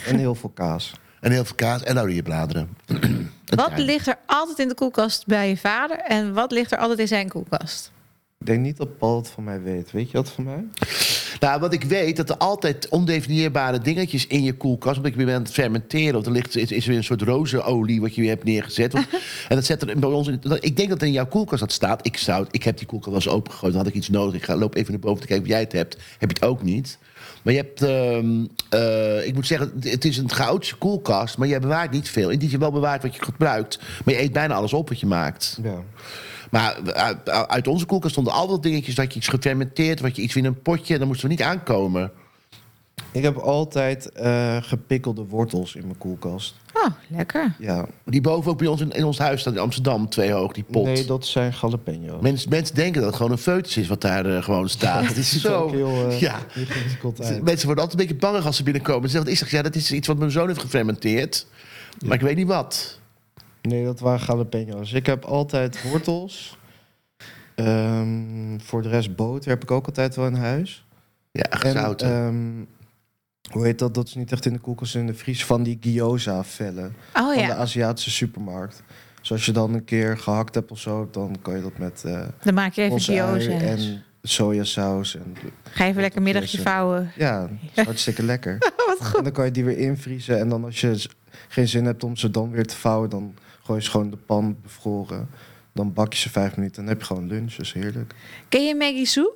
Speaker 3: En heel veel kaas.
Speaker 2: En heel veel kaas en (clears throat) laurierbladeren. En
Speaker 1: wat
Speaker 2: tuin.
Speaker 1: ligt er altijd in de koelkast bij je vader? En wat ligt er altijd in zijn koelkast?
Speaker 3: Ik denk niet dat Paul het van mij weet. Weet je wat van mij?
Speaker 2: Nou, wat ik weet, dat er altijd ondefinieerbare dingetjes in je koelkast... omdat je weer bent fermenteren. Want er ligt, is, is er weer een soort rozenolie wat je weer hebt neergezet. Want- en dat zet er bij ons... In, dat- ik denk dat het in jouw koelkast dat staat. Ik, zou, het- ik heb die koelkast wel eens opengegooid. Dan had ik iets nodig. Ik ga, loop even naar boven te kijken of jij het hebt. Heb je het ook niet. Maar je hebt... ehm, eh, ik moet zeggen, het- het is een chaotische koelkast... maar jij bewaart niet veel. In die je wel bewaart wat je gebruikt... maar je eet bijna alles op wat je maakt.
Speaker 3: Ja.
Speaker 2: Maar uit- uit onze koelkast stonden al wat dingetjes dat je iets gefermenteerd, wat je iets in een potje, en dan moesten we niet aankomen.
Speaker 3: Ik heb altijd eh, gepikkelde wortels in mijn koelkast.
Speaker 1: Oh, lekker.
Speaker 3: Ja.
Speaker 2: Die boven ook bij ons in, in ons huis staat in Amsterdam, twee hoog, die pot.
Speaker 3: Nee, dat zijn jalapeno's.
Speaker 2: mensen, mensen denken dat het gewoon een foetus is wat daar eh, gewoon
Speaker 3: (laughs)
Speaker 2: staat. Het is
Speaker 3: Ziet er
Speaker 2: zo.
Speaker 3: ook heel, eh,
Speaker 2: ja.
Speaker 3: heel (laughs) ingewikkeld uit.
Speaker 2: Mensen worden altijd een beetje bang als ze binnenkomen. Ze zeggen, wat is dat? Ja, dat is iets wat mijn zoon heeft gefermenteerd. Maar ik weet niet wat.
Speaker 3: Nee, dat waren jalapeno's. Ik heb altijd wortels. Ehm, voor de rest boter heb ik ook altijd wel in huis.
Speaker 2: Ja,
Speaker 3: En
Speaker 2: gezouten.
Speaker 3: ehm, hoe heet dat? Dat is niet echt in de koelkast in de vries van die gyoza vellen
Speaker 1: Oh
Speaker 3: van de
Speaker 1: ja,
Speaker 3: Aziatische supermarkt. Dus als je dan een keer gehakt hebt of zo, dan kan je dat met eh
Speaker 1: dan maak je even
Speaker 3: roze ui
Speaker 1: gyoza.
Speaker 3: en sojasaus. En,
Speaker 1: Ga even lekker middagje
Speaker 3: Yes,
Speaker 1: vouwen.
Speaker 3: ja, dat is hartstikke lekker. En dan kan je die weer invriezen. En dan als je z- geen zin hebt om ze dan weer te vouwen, dan gooi je ze gewoon in de pan bevroren. Dan bak je ze vijf minuten en dan heb je gewoon lunch. Dat is heerlijk.
Speaker 1: Ken je Maggie Sue?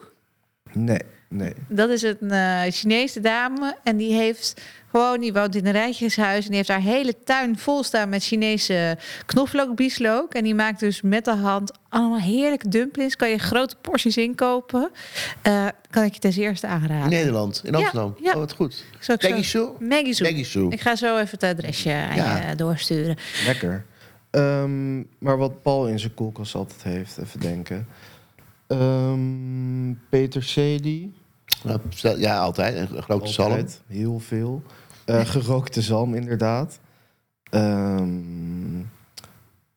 Speaker 3: Nee, nee.
Speaker 1: Dat is een eh, Chinese dame. En die heeft gewoon, die woont in een rijtjeshuis. En die heeft haar hele tuin vol staan met Chinese knoflook, bieslook. En die maakt dus met de hand allemaal heerlijke dumplings. Kan je grote porties inkopen. Eh, kan ik je ten eerste aanraden.
Speaker 2: Nederland, in Amsterdam.
Speaker 1: ja.
Speaker 2: Oh, wat goed.
Speaker 1: Ik zal ook zo-
Speaker 2: Peggy Sue?
Speaker 1: Maggie Sue.
Speaker 2: Peggy Sue.
Speaker 1: Ik ga zo even het adresje aan
Speaker 2: Ja.
Speaker 1: je doorsturen.
Speaker 3: Lekker. Ehm, maar wat Paul in zijn koelkast altijd heeft, even denken. Ehm peterselie.
Speaker 2: Nou, Ja, altijd. Een grote zalm. (laughs)
Speaker 3: Altijd, Heel veel. Eh, gerookte zalm, inderdaad. Ehm,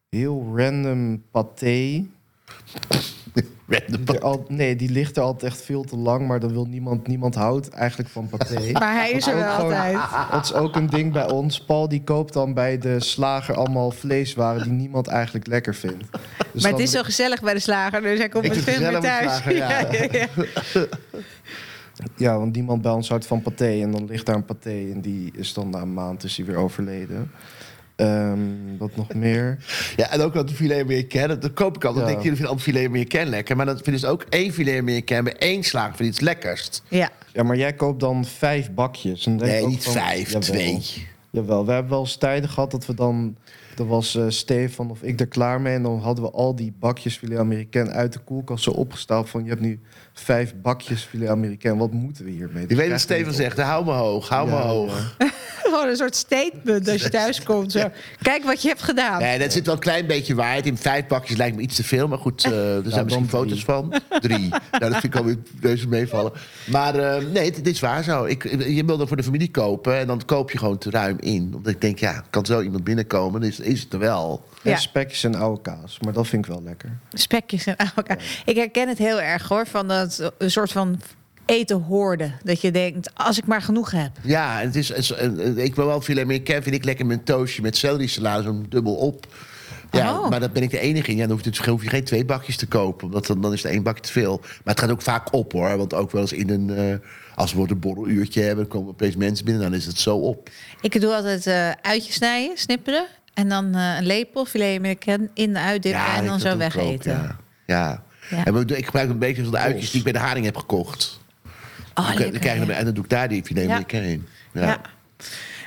Speaker 3: heel random paté.
Speaker 2: Random.
Speaker 3: Die er al, nee, die ligt er altijd echt veel te lang, maar dan wil niemand, niemand houdt eigenlijk van
Speaker 1: (laughs)
Speaker 3: paté.
Speaker 1: Maar hij is er
Speaker 3: Ook
Speaker 1: wel
Speaker 3: gewoon-
Speaker 1: altijd.
Speaker 3: Dat is ook een ding bij ons. Paul die koopt dan bij de slager allemaal vleeswaren die niemand eigenlijk lekker vindt. Dus
Speaker 1: maar
Speaker 3: dan-
Speaker 1: het is zo gezellig bij de slager, dus hij komt
Speaker 2: Ik
Speaker 1: met
Speaker 2: vind
Speaker 1: veel meer
Speaker 2: het gezellig
Speaker 1: thuis.
Speaker 2: met slager,
Speaker 1: (laughs)
Speaker 2: ja.
Speaker 1: ja.
Speaker 3: Ja, want niemand bij ons houdt van paté. En dan ligt daar een paté en die is dan na een maand is die weer overleden. Ehm, wat nog meer?
Speaker 2: Ja, en ook dat filet Americain, dat, dat koop ik al. Dan
Speaker 3: Ja.
Speaker 2: denk ik, jullie vinden al filet Americain lekker. Maar dat vinden ze ook één filet Americain bij één slaag voor iets lekkerst.
Speaker 1: Ja.
Speaker 3: Ja, maar jij koopt dan vijf bakjes. En dan denk ik
Speaker 2: Nee,
Speaker 3: ook
Speaker 2: niet
Speaker 3: van-
Speaker 2: vijf,
Speaker 3: Jawel.
Speaker 2: twee.
Speaker 3: Jawel, we hebben wel eens tijden gehad dat we dan... Dan was eh, Stefan of ik er klaar mee. En dan hadden we al die bakjes filet americain uit de koelkast zo opgestapeld. Van je hebt nu vijf bakjes filet americain. Wat moeten we hiermee?
Speaker 2: Ik weet
Speaker 3: Dat
Speaker 2: wat
Speaker 3: krijg je
Speaker 2: Steven
Speaker 3: niet
Speaker 2: zegt, hè, hou me hoog,
Speaker 3: op.
Speaker 2: hou me
Speaker 3: Ja,
Speaker 2: hoog.
Speaker 3: ja.
Speaker 1: (laughs) Gewoon een soort statement als je thuis komt. Zo. Kijk wat je hebt gedaan.
Speaker 2: Nee, dat zit wel een klein beetje waarheid. In vijf bakjes lijkt me iets te veel. Maar goed, eh, er zijn
Speaker 3: dan
Speaker 2: misschien
Speaker 3: drie.
Speaker 2: foto's van.
Speaker 3: (laughs)
Speaker 2: Drie. nou, dat vind ik alweer reuze meevallen. Maar eh, nee, dit is waar zo. Ik, je wil dat voor de familie kopen. En dan koop je gewoon te ruim in. Omdat ik denk, ja, kan zo iemand binnenkomen? Dan is, is het er wel.
Speaker 1: Ja.
Speaker 3: En spekjes en oude kaas. Maar dat vind ik wel lekker.
Speaker 1: Spekjes en aan elkaar. Ik herken het heel erg hoor. Van dat een soort van eten hoorde. Dat je denkt, als ik maar genoeg heb.
Speaker 2: Ja, en het is, het is- en, en ik wil wel filet Amerikaan. Vind ik lekker met een toastje met celery salade, zo'n dubbel op. Ja,
Speaker 1: Oh.
Speaker 2: maar dat ben ik de enige in. Ja, dan hoef je, het- hoef je geen twee bakjes te kopen, want dan, dan is er één bakje te veel. Maar het gaat ook vaak op hoor, want ook wel eens in een... eh, als we een borreluurtje hebben, dan komen opeens mensen binnen, dan is het zo op.
Speaker 1: Ik doe altijd eh uitjes snijden, snipperen. En dan eh, een lepel filet Amerikaan in de uit dippen en
Speaker 2: ik-
Speaker 1: dan
Speaker 2: dat
Speaker 1: zo
Speaker 2: doe ik ook,
Speaker 1: wegeten.
Speaker 2: ja. ja.
Speaker 1: Ja.
Speaker 2: En ik- ik gebruik een beetje van de uitjes die ik bij de haring heb gekocht.
Speaker 1: Oh,
Speaker 2: dan, krijg- dan
Speaker 1: lekker,
Speaker 2: krijg je
Speaker 1: ja.
Speaker 2: hem- en dan doe ik daar die filet
Speaker 1: Ja.
Speaker 2: Amerikaan in. Ja.
Speaker 1: Ja.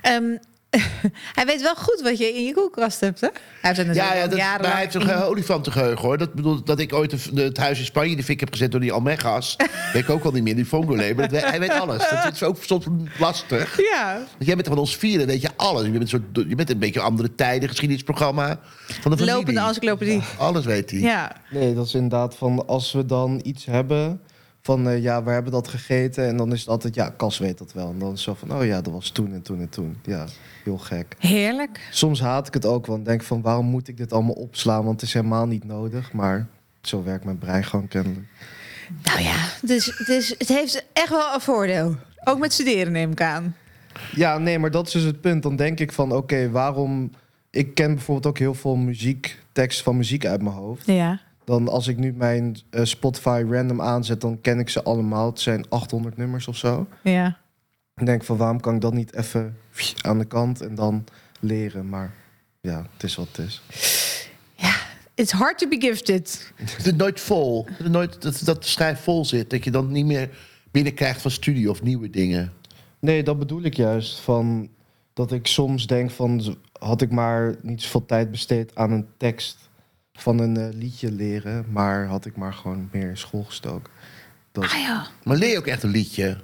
Speaker 1: Ehm, (laughs) hij weet wel goed wat je in je koelkast hebt, hè? Hij heeft het
Speaker 2: Ja,
Speaker 1: natuurlijk
Speaker 2: ja
Speaker 1: al
Speaker 2: dat, maar
Speaker 1: jarenlang
Speaker 2: hij heeft
Speaker 1: in-
Speaker 2: een olifantengeheugen hoor. Dat bedoelt dat ik ooit de- de- het huis in Spanje in de fik heb gezet door die
Speaker 1: (laughs)
Speaker 2: Almegas. weet ik ook al niet meer, die Vongole. Maar dat- hij weet alles. Dat is ook soms lastig.
Speaker 1: (laughs) Ja,
Speaker 2: Want jij bent van ons vieren, weet je alles. Je bent een, soort, je bent een beetje andere tijden, geschiedenisprogramma. Van de familie.
Speaker 1: lopende encyclopedie.
Speaker 2: Alles weet hij.
Speaker 1: Ja.
Speaker 3: Nee, dat is inderdaad van als we dan iets hebben. Van eh, ja, we hebben dat gegeten. En dan is het altijd, ja, Cas weet dat wel. En dan is het zo van, oh ja, dat was toen en toen en toen. Ja, heel gek.
Speaker 1: Heerlijk.
Speaker 3: Soms haat ik het ook wel. En denk van, waarom moet ik dit allemaal opslaan? Want het is helemaal niet nodig. Maar zo werkt mijn brein gewoon kennelijk.
Speaker 1: Nou ja, dus, dus het heeft echt wel een voordeel. Ook met studeren neem ik aan.
Speaker 3: Ja, nee, maar dat is dus het punt. Dan denk ik van, oké, waarom... Ik ken bijvoorbeeld ook heel veel muziek, tekst van muziek uit mijn hoofd.
Speaker 1: Ja.
Speaker 3: Dan als ik nu mijn eh, Spotify random aanzet, dan ken ik ze allemaal. Het zijn 800 nummers of zo.
Speaker 1: Ja.
Speaker 3: Ik denk van waarom kan ik dat niet even aan de kant en dan leren. Maar ja, het is wat het is.
Speaker 1: It's hard to be gifted.
Speaker 2: Het is nooit vol. Het is nooit, dat, dat de schijf vol zit. Dat je dan niet meer binnenkrijgt van studie of nieuwe dingen.
Speaker 3: Nee, dat bedoel ik juist. Van dat ik soms denk van z- had ik maar niet zoveel tijd besteed aan een tekst van een eh, liedje leren. Maar had ik maar gewoon meer in school gestoken.
Speaker 1: Ah ja.
Speaker 2: Maar leer je ook echt een liedje?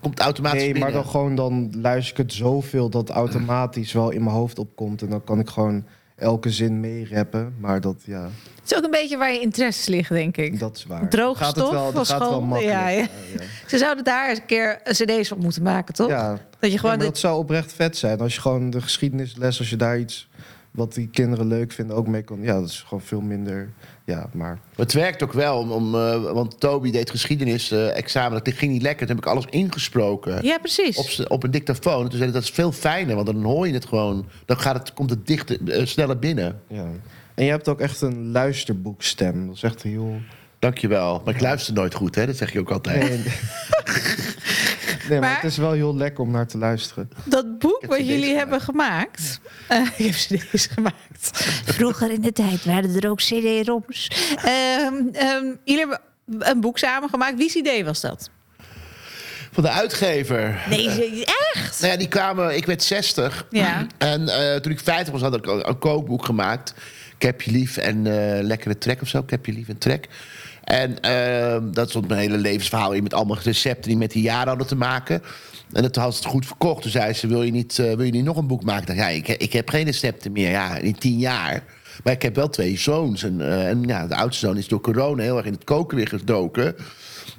Speaker 2: Komt automatisch
Speaker 3: Nee, maar
Speaker 2: binnen.
Speaker 3: dan gewoon dan luister ik het zoveel dat het automatisch wel in mijn hoofd opkomt. En dan kan ik gewoon elke zin meerappen. Maar dat ja,
Speaker 1: Het is ook een beetje waar je interesses liggen, denk ik.
Speaker 3: dat is waar.
Speaker 1: Droog
Speaker 3: gaat
Speaker 1: stof
Speaker 3: het wel,
Speaker 1: van
Speaker 3: dat gaat het wel
Speaker 1: school?
Speaker 3: makkelijk.
Speaker 1: Ja, ja.
Speaker 3: ja.
Speaker 1: Ze zouden daar eens een keer cd's op moeten maken, toch?
Speaker 3: Ja,
Speaker 1: Dat je
Speaker 3: Ja,
Speaker 1: gewoon...
Speaker 3: maar dat zou oprecht vet zijn. Als je gewoon de geschiedenisles, als je daar iets wat die kinderen leuk vinden ook mee kan. Ja, dat is gewoon veel minder. Ja, maar
Speaker 2: Maar het werkt ook wel, om, om, eh, want Toby deed geschiedenis eh, examen. Dat ging niet lekker. Toen heb ik alles ingesproken.
Speaker 1: Ja, precies.
Speaker 2: op, z'n- op een dictafoon. En toen zei hij, dat is veel fijner, want dan hoor je het gewoon. Dan gaat het, komt het dichter, eh, sneller binnen.
Speaker 3: ja. En je hebt ook echt een luisterboekstem. Dat is echt heel.
Speaker 2: Dankjewel. Maar ik luister nooit goed, hè? Dat zeg je ook altijd.
Speaker 3: Nee, (laughs) nee, maar,
Speaker 1: Maar-
Speaker 3: het is wel heel lekker om naar te luisteren.
Speaker 1: Dat boek
Speaker 2: heb
Speaker 1: wat
Speaker 2: CD's
Speaker 1: jullie
Speaker 2: gemaakt.
Speaker 1: hebben gemaakt. Eh, (laughs) ik heb CD's gemaakt.
Speaker 4: Vroeger in de tijd waren er ook CD-ROMs.
Speaker 1: Ehm, ehm, jullie hebben een boek samengemaakt. Wie's idee was dat?
Speaker 2: Van de uitgever.
Speaker 1: Nee, ze- eh?
Speaker 2: Nou ja, die kwamen, ik werd 60.
Speaker 1: Ja.
Speaker 2: En eh, toen ik 50 was, had ik een, een kookboek gemaakt. Ik heb je lief en eh, lekkere trek of zo. Ik heb je lief en trek. En ehm, dat stond mijn hele levensverhaal in met allemaal recepten die met die jaren hadden te maken. En dat had ze het goed verkocht. Toen zei ze, wil je niet, eh, wil je niet nog een boek maken? Ik dacht, ja, ik, ik heb geen recepten meer ja, in tien jaar. Maar ik heb wel twee zoons. En, eh, en ja, de oudste zoon is door corona heel erg in het koken weer gedoken.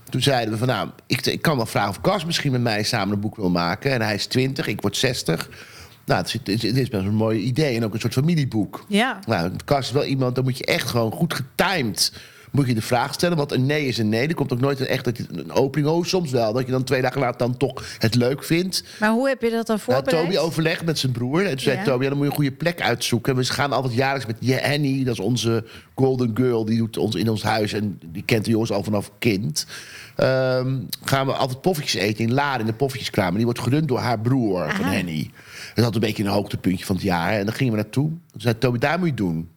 Speaker 2: Toen zeiden we van nou, ik, ik kan wel vragen of Cas misschien met mij samen een boek wil maken. En hij is 20, ik word 60. Nou, het is, het is- het is best een mooi idee en ook een soort familieboek.
Speaker 1: Ja.
Speaker 2: Nou, Cas is wel iemand, dan moet je echt gewoon goed getimed. Moet je de vraag stellen, want een nee is een nee. Er komt ook nooit een echt dat je- een opening. Oh, soms wel. Dat je dan twee dagen later dan toch het leuk vindt.
Speaker 1: Maar hoe heb je dat dan
Speaker 2: Nou,
Speaker 1: voorbereid?
Speaker 2: Toby overlegt met zijn broer. En toen zei
Speaker 1: Ja.
Speaker 2: Toby, ja, dan moet je een goede plek uitzoeken. We gaan altijd jaarlijks met Je- Henny, dat is onze golden girl. Die doet ons in ons huis en die kent de jongens al vanaf kind. Ehm, gaan we altijd poffertjes eten in Laren, in de poffertjeskraam. En die wordt gerund door haar broer
Speaker 1: Ah.
Speaker 2: van Henny. Dat had een beetje een hoogtepuntje van het jaar. En dan gingen we naartoe. Toen zei Toby, daar moet je het doen.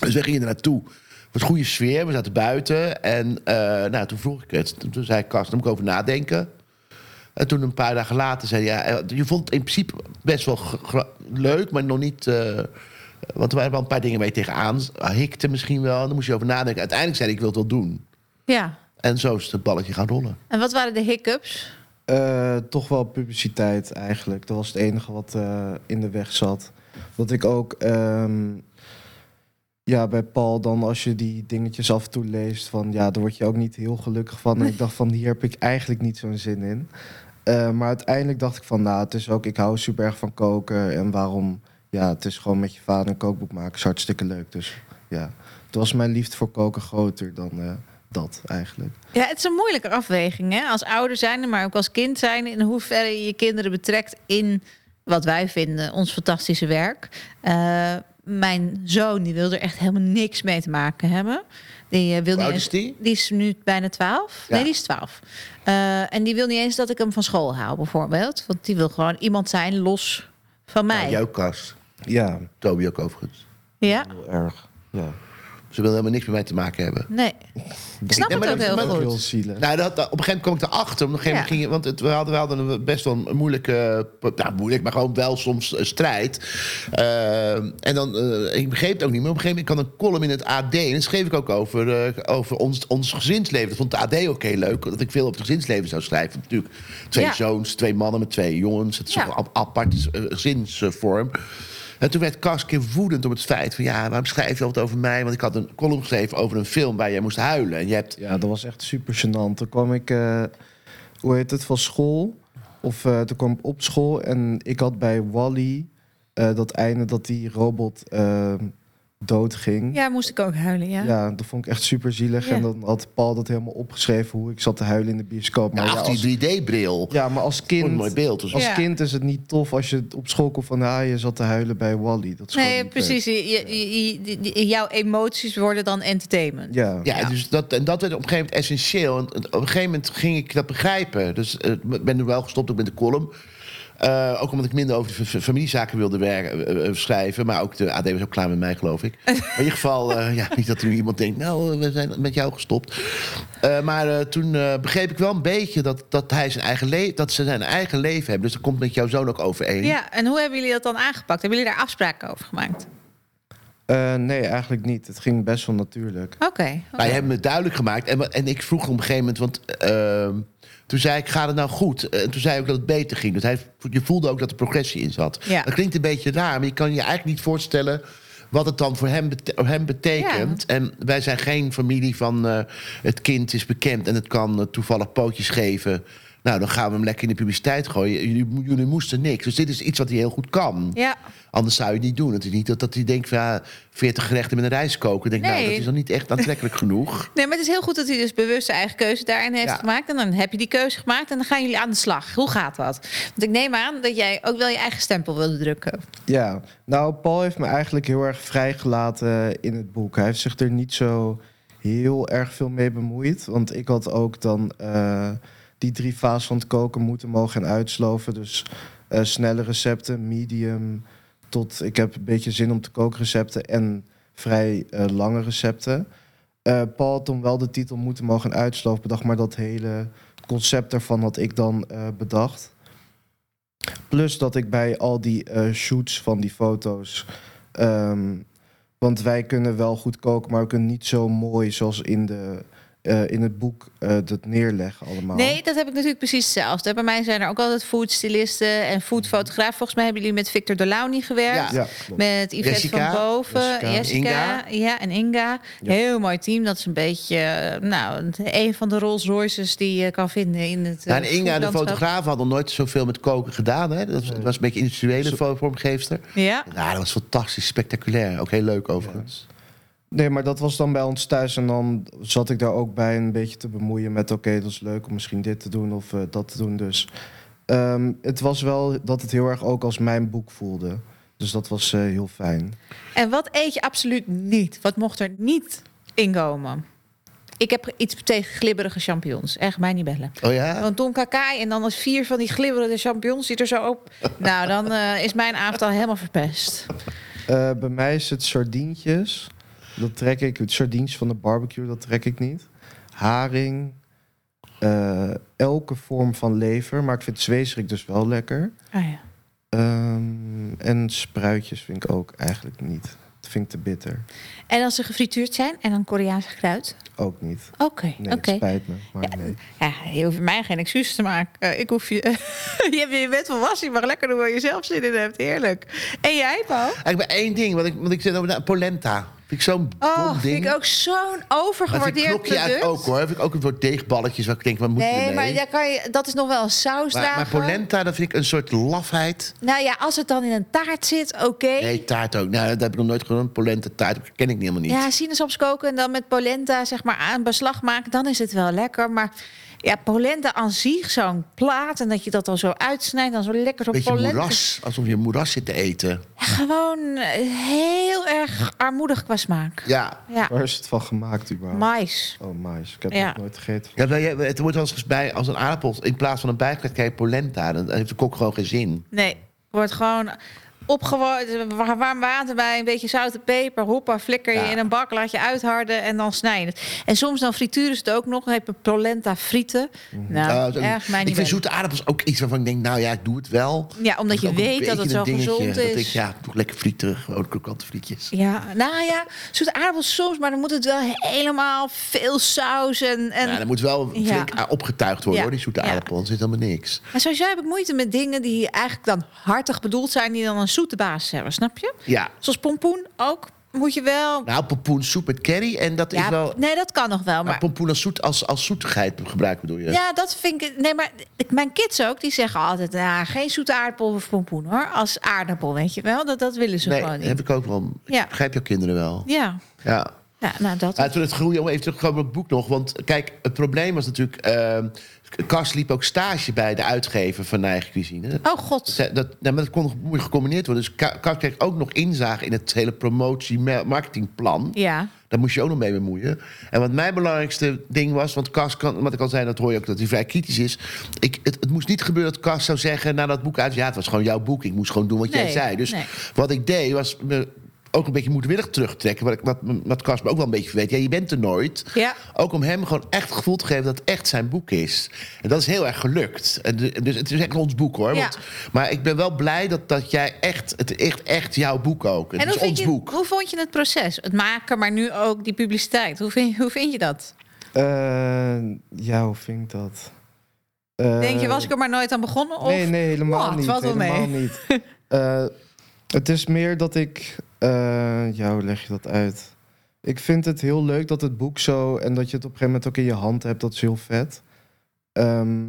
Speaker 2: Dus we gingen er naartoe. Het was een goede sfeer, we zaten buiten. En eh, nou, toen vroeg ik het. Toen- Toen zei ik, Kast, daar moet ik over nadenken. En toen een paar dagen later zei hij, ja, eh, je vond het in principe best wel gra- gra- leuk, maar nog niet... eh, want er waren wel een paar dingen waar je tegenaan ah, hikte misschien wel. En dan moest je over nadenken. Uiteindelijk zei hij, ik wil het wel doen.
Speaker 1: Ja.
Speaker 2: En zo is het balletje gaan rollen.
Speaker 1: En wat waren de hiccups?
Speaker 3: Eh, toch wel publiciteit eigenlijk. Dat was het enige wat eh, in de weg zat. Dat ik ook ehm, ja, bij Paul dan als je die dingetjes af en toe leest... van ja, daar word je ook niet heel gelukkig van. En ik dacht van hier heb ik eigenlijk niet zo'n zin in. Eh, maar uiteindelijk dacht ik van nou, het is ook... ik hou super erg van koken en waarom... ja, het is gewoon met je vader een kookboek maken is hartstikke leuk. Dus ja, toen was mijn liefde voor koken groter dan eh, dat eigenlijk.
Speaker 1: Ja, het is een moeilijke afweging. Hè? Als ouder zijn, maar ook als kind zijn. In hoeverre je je kinderen betrekt in wat wij vinden, ons fantastische werk. Eh, mijn zoon die wil er echt helemaal niks mee te maken hebben. Die eh, wil
Speaker 2: Hoe
Speaker 1: niet
Speaker 2: oud
Speaker 1: eens-
Speaker 2: is die?
Speaker 1: Die is nu bijna 12.
Speaker 2: Ja.
Speaker 1: Nee, die is 12. Eh, en die wil niet eens dat ik hem van school haal, bijvoorbeeld. Want die wil gewoon iemand zijn los van mij. Ja,
Speaker 2: Jouw kast.
Speaker 3: Ja,
Speaker 2: Toby ook overigens.
Speaker 3: heel erg. Ja.
Speaker 2: Ze wilden helemaal niks met mij te maken hebben. (laughs)
Speaker 1: nee. Ik snap het
Speaker 2: Nee, maar
Speaker 1: ook
Speaker 2: dat-
Speaker 1: heel
Speaker 2: maar-
Speaker 1: goed.
Speaker 3: Heel zielig.
Speaker 2: Nou, dat, dat- op een gegeven moment kwam ik erachter. Op een gegeven moment
Speaker 1: Ja.
Speaker 2: ging je, want het, we, hadden, we hadden een best wel een moeilijke... eh, Nou, moeilijk, maar gewoon wel soms eh, strijd. Eh, en dan, eh, ik begreep het ook niet meer. Op een gegeven moment kan een column in het AD... en dat schreef ik ook over, eh, over ons, ons gezinsleven. Dat vond het AD ook heel leuk. Dat ik veel op het gezinsleven zou schrijven. Natuurlijk, twee
Speaker 1: Ja.
Speaker 2: zoons, twee mannen met twee jongens. Het is
Speaker 1: Ja.
Speaker 2: toch een ap- aparte eh, gezinsvorm. En toen werd Kas een keer woedend op het feit van... ja, waarom schrijf je altijd over mij? Want ik had een column geschreven over een film waar jij moest huilen. En je hebt...
Speaker 3: Ja, dat was echt super gênant. Toen kwam ik, eh, hoe heet het, van school. Of eh, toen kwam ik op school en ik had bij Wally eh, dat einde dat die robot eh, doodging.
Speaker 1: Ja, moest ik ook huilen, ja.
Speaker 3: Ja, dat vond ik echt super zielig.
Speaker 1: Ja.
Speaker 3: En dan had Paul dat helemaal opgeschreven hoe ik zat te huilen in de bioscoop. Maar ja,
Speaker 2: achter
Speaker 3: als,
Speaker 2: die 3D-bril.
Speaker 3: ja, maar als
Speaker 2: Wat een mooi
Speaker 3: kind,
Speaker 2: beeld. Dus
Speaker 3: als
Speaker 1: Ja.
Speaker 3: kind is het niet tof als je op school komt van ah, je zat te huilen bij Wally. Dat is gewoon
Speaker 1: Nee,
Speaker 3: niet
Speaker 1: precies. Je- je- je- die- die- jouw emoties worden dan entertainment.
Speaker 3: leuk. Ja.
Speaker 2: Ja, Dus dat, en dat werd op een gegeven moment essentieel. En op een gegeven moment ging ik dat begrijpen. Dus eh, ik ben nu wel gestopt ook met de column. Eh, ook omdat ik minder over de fa- fa- familiezaken wilde werken, eh, eh, schrijven. Maar ook de AD was ook klaar met mij, geloof ik. Maar in ieder geval, eh, ja, niet dat er nu iemand denkt... nou, eh, we zijn met jou gestopt. Eh, maar eh, toen eh, begreep ik wel een beetje dat, dat, hij zijn eigen le- dat ze zijn eigen leven hebben. Dus dat komt met jouw zoon ook overeen.
Speaker 1: Ja, en hoe hebben jullie dat dan aangepakt? Hebben jullie daar afspraken over gemaakt?
Speaker 3: Eh, nee, eigenlijk niet. Het ging best wel natuurlijk.
Speaker 1: Oké.
Speaker 2: Wij hebben het duidelijk gemaakt. En, en ik vroeg op een gegeven moment, want ehm, toen zei ik, gaat het nou goed? En toen zei hij ook dat het beter ging. Dus hij, je voelde ook dat er progressie in zat.
Speaker 1: Ja.
Speaker 2: Dat klinkt een beetje raar, maar je kan je eigenlijk niet voorstellen wat het dan voor hem, bete- hem betekent. En wij zijn geen familie van eh, het kind is bekend en het kan eh, toevallig pootjes geven. Nou, dan gaan we hem lekker in de publiciteit gooien. Jullie, jullie moesten niks. Dus dit is iets wat hij heel goed kan.
Speaker 1: Ja,
Speaker 2: Anders zou je het niet doen. Het is niet dat, dat hij denkt van ja, 40 gerechten met een rijst koken. Denk, nou,
Speaker 1: Nee.
Speaker 2: dat is dan niet echt aantrekkelijk
Speaker 1: (laughs)
Speaker 2: genoeg.
Speaker 1: nee, maar het is heel goed dat hij dus bewust zijn eigen keuze daarin heeft
Speaker 2: Ja.
Speaker 1: gemaakt. En dan heb je die keuze gemaakt en dan gaan jullie aan de slag. Hoe gaat dat? Want ik neem aan dat jij ook wel je eigen stempel wilde drukken.
Speaker 3: Ja, nou, Paul heeft me eigenlijk heel erg vrijgelaten in het boek. Hij heeft zich er niet zo heel erg veel mee bemoeid. Want ik had ook dan eh, die drie fases van het koken moeten mogen en uitsloven. Dus eh, snelle recepten, medium, tot ik heb een beetje zin om te koken recepten en vrij eh, lange recepten. Eh, Paul had dan wel de titel moeten mogen en uitsloven bedacht, maar dat hele concept daarvan had ik dan eh, bedacht. Plus dat ik bij al die eh, shoots van die foto's. ehm, want wij kunnen wel goed koken, maar we kunnen niet zo mooi zoals in, de, eh, in het boek eh, dat neerleggen allemaal.
Speaker 1: Nee, dat heb ik natuurlijk precies hetzelfde. Bij mij zijn er ook altijd foodstylisten en foodfotograaf. Volgens mij hebben jullie met Victor Delauni gewerkt.
Speaker 3: Ja, klopt.
Speaker 1: Met Yvette
Speaker 2: Jessica.
Speaker 1: van Boven,
Speaker 3: Jessica.
Speaker 1: Jessica, Ja, en Inga.
Speaker 3: Ja.
Speaker 1: Heel mooi team. Dat is een beetje eh, nou, een van de Rolls Royces die je kan vinden in het eh,
Speaker 2: Nou, en Inga, de
Speaker 1: foodlandschap.
Speaker 2: fotograaf, had nog nooit zoveel met koken gedaan. Hè? Dat was, dat was een beetje
Speaker 3: Zo-
Speaker 2: individuele fo- vormgeefster.
Speaker 1: Ja.
Speaker 2: Nou, dat was fantastisch, spectaculair. Ook heel leuk overigens.
Speaker 3: Nee, maar dat was dan bij ons thuis. En dan zat ik daar ook bij een beetje te bemoeien met... oké, dat is leuk om misschien dit te doen of eh, dat te doen. Dus ehm, het was wel dat het heel erg ook als mijn boek voelde. Dus dat was eh, heel fijn.
Speaker 1: En wat eet je absoluut niet? Wat mocht er niet inkomen? Ik heb iets tegen glibberige champignons. Echt mij niet bellen.
Speaker 2: Oh ja?
Speaker 1: Want Don Kakai en dan als vier van die glibberige champignons die er zo op. Nou, dan eh, is mijn avond al helemaal verpest.
Speaker 3: Eh, bij mij is het sardientjes. Dat trek ik. Het sardientjes van de barbecue, dat trek ik niet. Haring. eh, elke vorm van lever. Maar ik vind zweesrik dus wel lekker.
Speaker 1: Ah ja.
Speaker 3: Ehm, en spruitjes vind ik ook eigenlijk niet. Dat vind ik te bitter.
Speaker 1: En als ze gefrituurd zijn en dan Koreaans gekruid?
Speaker 3: Ook niet.
Speaker 1: Oké,
Speaker 3: Nee,
Speaker 1: oké.
Speaker 3: het spijt me. Maar nee.
Speaker 1: Ja, je hoeft mij geen excuses te maken. Eh, ik hoef je... (laughs) je, hebt- je bent volwassen, je mag lekker doen waar je zelf zin in hebt. Heerlijk. En jij, Paul?
Speaker 2: Eigenlijk bij één ding, want ik, want ik zit over na- polenta. Vind ik zo'n
Speaker 1: Oh,
Speaker 2: dom ding.
Speaker 1: vind ik ook zo'n
Speaker 2: maar vind ik
Speaker 1: overgewaardeerd
Speaker 2: knokje
Speaker 1: product.
Speaker 2: uit ook hoor. Vind ik ook een soort deegballetjes waar ik denk, wat moet je
Speaker 1: Nee,
Speaker 2: ermee?
Speaker 1: maar daar kan je, dat is nog wel een saus
Speaker 2: maar, maar
Speaker 1: dragen.
Speaker 2: polenta, dat vind ik een soort lafheid.
Speaker 1: Nou ja, als het dan in een taart zit, oké.
Speaker 2: Nee, taart ook. Nou, dat heb ik nog nooit gedaan. Polenta taart, dat ken ik helemaal niet.
Speaker 1: Ja, sinaasappels koken en dan met polenta zeg maar aan beslag maken, dan is het wel lekker. Maar ja, polenta aan zich, zo'n plaat en dat je dat dan zo uitsnijdt, dan zo lekker zo'n
Speaker 2: Beetje
Speaker 1: polenta.
Speaker 2: moeras, alsof je moeras zit te eten.
Speaker 1: Gewoon eh, heel erg armoedig qua smaak.
Speaker 2: Ja.
Speaker 1: Ja,
Speaker 3: Waar is het van gemaakt überhaupt?
Speaker 1: mais.
Speaker 3: Oh, mais. Ik heb
Speaker 1: Ja.
Speaker 3: het nooit gegeten.
Speaker 2: Ja, maar je- het wordt wel eens bij als een aardappel. In plaats van een bijgerecht krijg je polenta. Dan heeft de kok gewoon geen zin.
Speaker 1: Nee, wordt gewoon opgewarmd, wa- warm water bij, een beetje zout en peper, hoppa, flikker je
Speaker 2: Ja.
Speaker 1: in een bak, laat je uitharden en dan snij je het. En soms dan frituren ze het ook nog, dan heb je polenta frieten.
Speaker 2: Ah,
Speaker 1: Nou,
Speaker 2: dat-
Speaker 1: erg mij
Speaker 2: ik
Speaker 1: niet
Speaker 2: vind
Speaker 1: bellen.
Speaker 2: zoete aardappels ook iets waarvan ik denk, nou ja, ik doe het wel.
Speaker 1: Ja, omdat je
Speaker 2: Ook een
Speaker 1: weet dat
Speaker 2: beetje
Speaker 1: het zo
Speaker 2: een dingetje.
Speaker 1: gezond
Speaker 2: Dat ik,
Speaker 1: is.
Speaker 2: ja, toch lekker frieten, gewoon krokante frietjes.
Speaker 1: Ja, nou ja, zoete aardappels soms, maar dan moet het wel helemaal veel saus en... en...
Speaker 2: Ja, dat moet wel
Speaker 1: Ja.
Speaker 2: flink a- opgetuigd worden,
Speaker 1: Ja.
Speaker 2: hoor, die zoete
Speaker 1: Ja.
Speaker 2: aardappel. Er zit helemaal niks.
Speaker 1: Maar sowieso heb ik moeite met dingen die eigenlijk dan hartig bedoeld zijn, die dan een zoete basis hebben, snap je?
Speaker 2: Ja.
Speaker 1: Zoals pompoen ook, moet je wel...
Speaker 2: Nou, pompoensoep met curry. En dat is
Speaker 1: ja,
Speaker 2: wel...
Speaker 1: Nee, dat kan nog wel,
Speaker 2: Maar
Speaker 1: maar...
Speaker 2: pompoen als, zoet, als, als zoetigheid gebruiken bedoel je?
Speaker 1: Ja, dat vind ik. Nee, maar ik- mijn kids ook, die zeggen altijd: nou, geen zoete aardappel of pompoen hoor. Als aardappel, weet je wel. Dat, dat willen ze
Speaker 2: nee,
Speaker 1: gewoon niet.
Speaker 2: heb ik ook wel. Ik
Speaker 1: Ja.
Speaker 2: begrijp jouw kinderen wel.
Speaker 1: Ja.
Speaker 2: Ja.
Speaker 1: ja, nou dat.
Speaker 2: Ja, toen het groeide, om even terug te komen op het boek nog. Want kijk, het probleem was natuurlijk... ehm Kast liep ook stage bij de uitgever van eigen cuisine.
Speaker 1: Oh god.
Speaker 2: Ze- Dat, nou, maar dat kon moeilijk gecombineerd worden. Dus Ka- Kast kreeg ook nog inzage in het hele promotie-marketingplan.
Speaker 1: Ja.
Speaker 2: Daar moest je ook nog mee bemoeien. En wat mijn belangrijkste ding was, want Cas kan, wat ik al zei, dat hoor je ook dat hij vrij kritisch is. Ik, het, het moest niet gebeuren dat Cas zou zeggen na dat boek uit, ja, het was gewoon jouw boek, ik moest gewoon doen wat jij
Speaker 1: Nee,
Speaker 2: zei. Dus
Speaker 1: nee.
Speaker 2: wat ik deed was me ook een beetje moedwillig terugtrekken, wat, ik, wat, wat Cas me ook wel een beetje weet. Ja, je bent er nooit.
Speaker 1: Ja.
Speaker 2: Ook om hem gewoon echt het gevoel te geven dat het echt zijn boek is. En dat is heel erg gelukt. En de- dus het is echt ons boek hoor.
Speaker 1: Ja.
Speaker 2: Want, maar ik ben wel blij dat, dat jij echt, het echt, echt jouw boek ook. Het
Speaker 1: En hoe,
Speaker 2: is
Speaker 1: vind
Speaker 2: ons
Speaker 1: je,
Speaker 2: boek.
Speaker 1: hoe vond je het proces? Het maken, maar nu ook die publiciteit. Hoe vind, hoe vind je dat?
Speaker 3: Eh, ja, hoe vind ik dat? Eh,
Speaker 1: Denk je, was ik er maar nooit aan begonnen? Of...
Speaker 3: Nee, nee, helemaal
Speaker 1: Wat?
Speaker 3: niet.
Speaker 1: Valt wel mee. (laughs)
Speaker 3: helemaal niet. Eh, het is meer dat ik... eh ja, hoe leg je dat uit? Ik vind het heel leuk dat het boek zo... en dat je het op een gegeven moment ook in je hand hebt. Dat is heel vet. Ehm,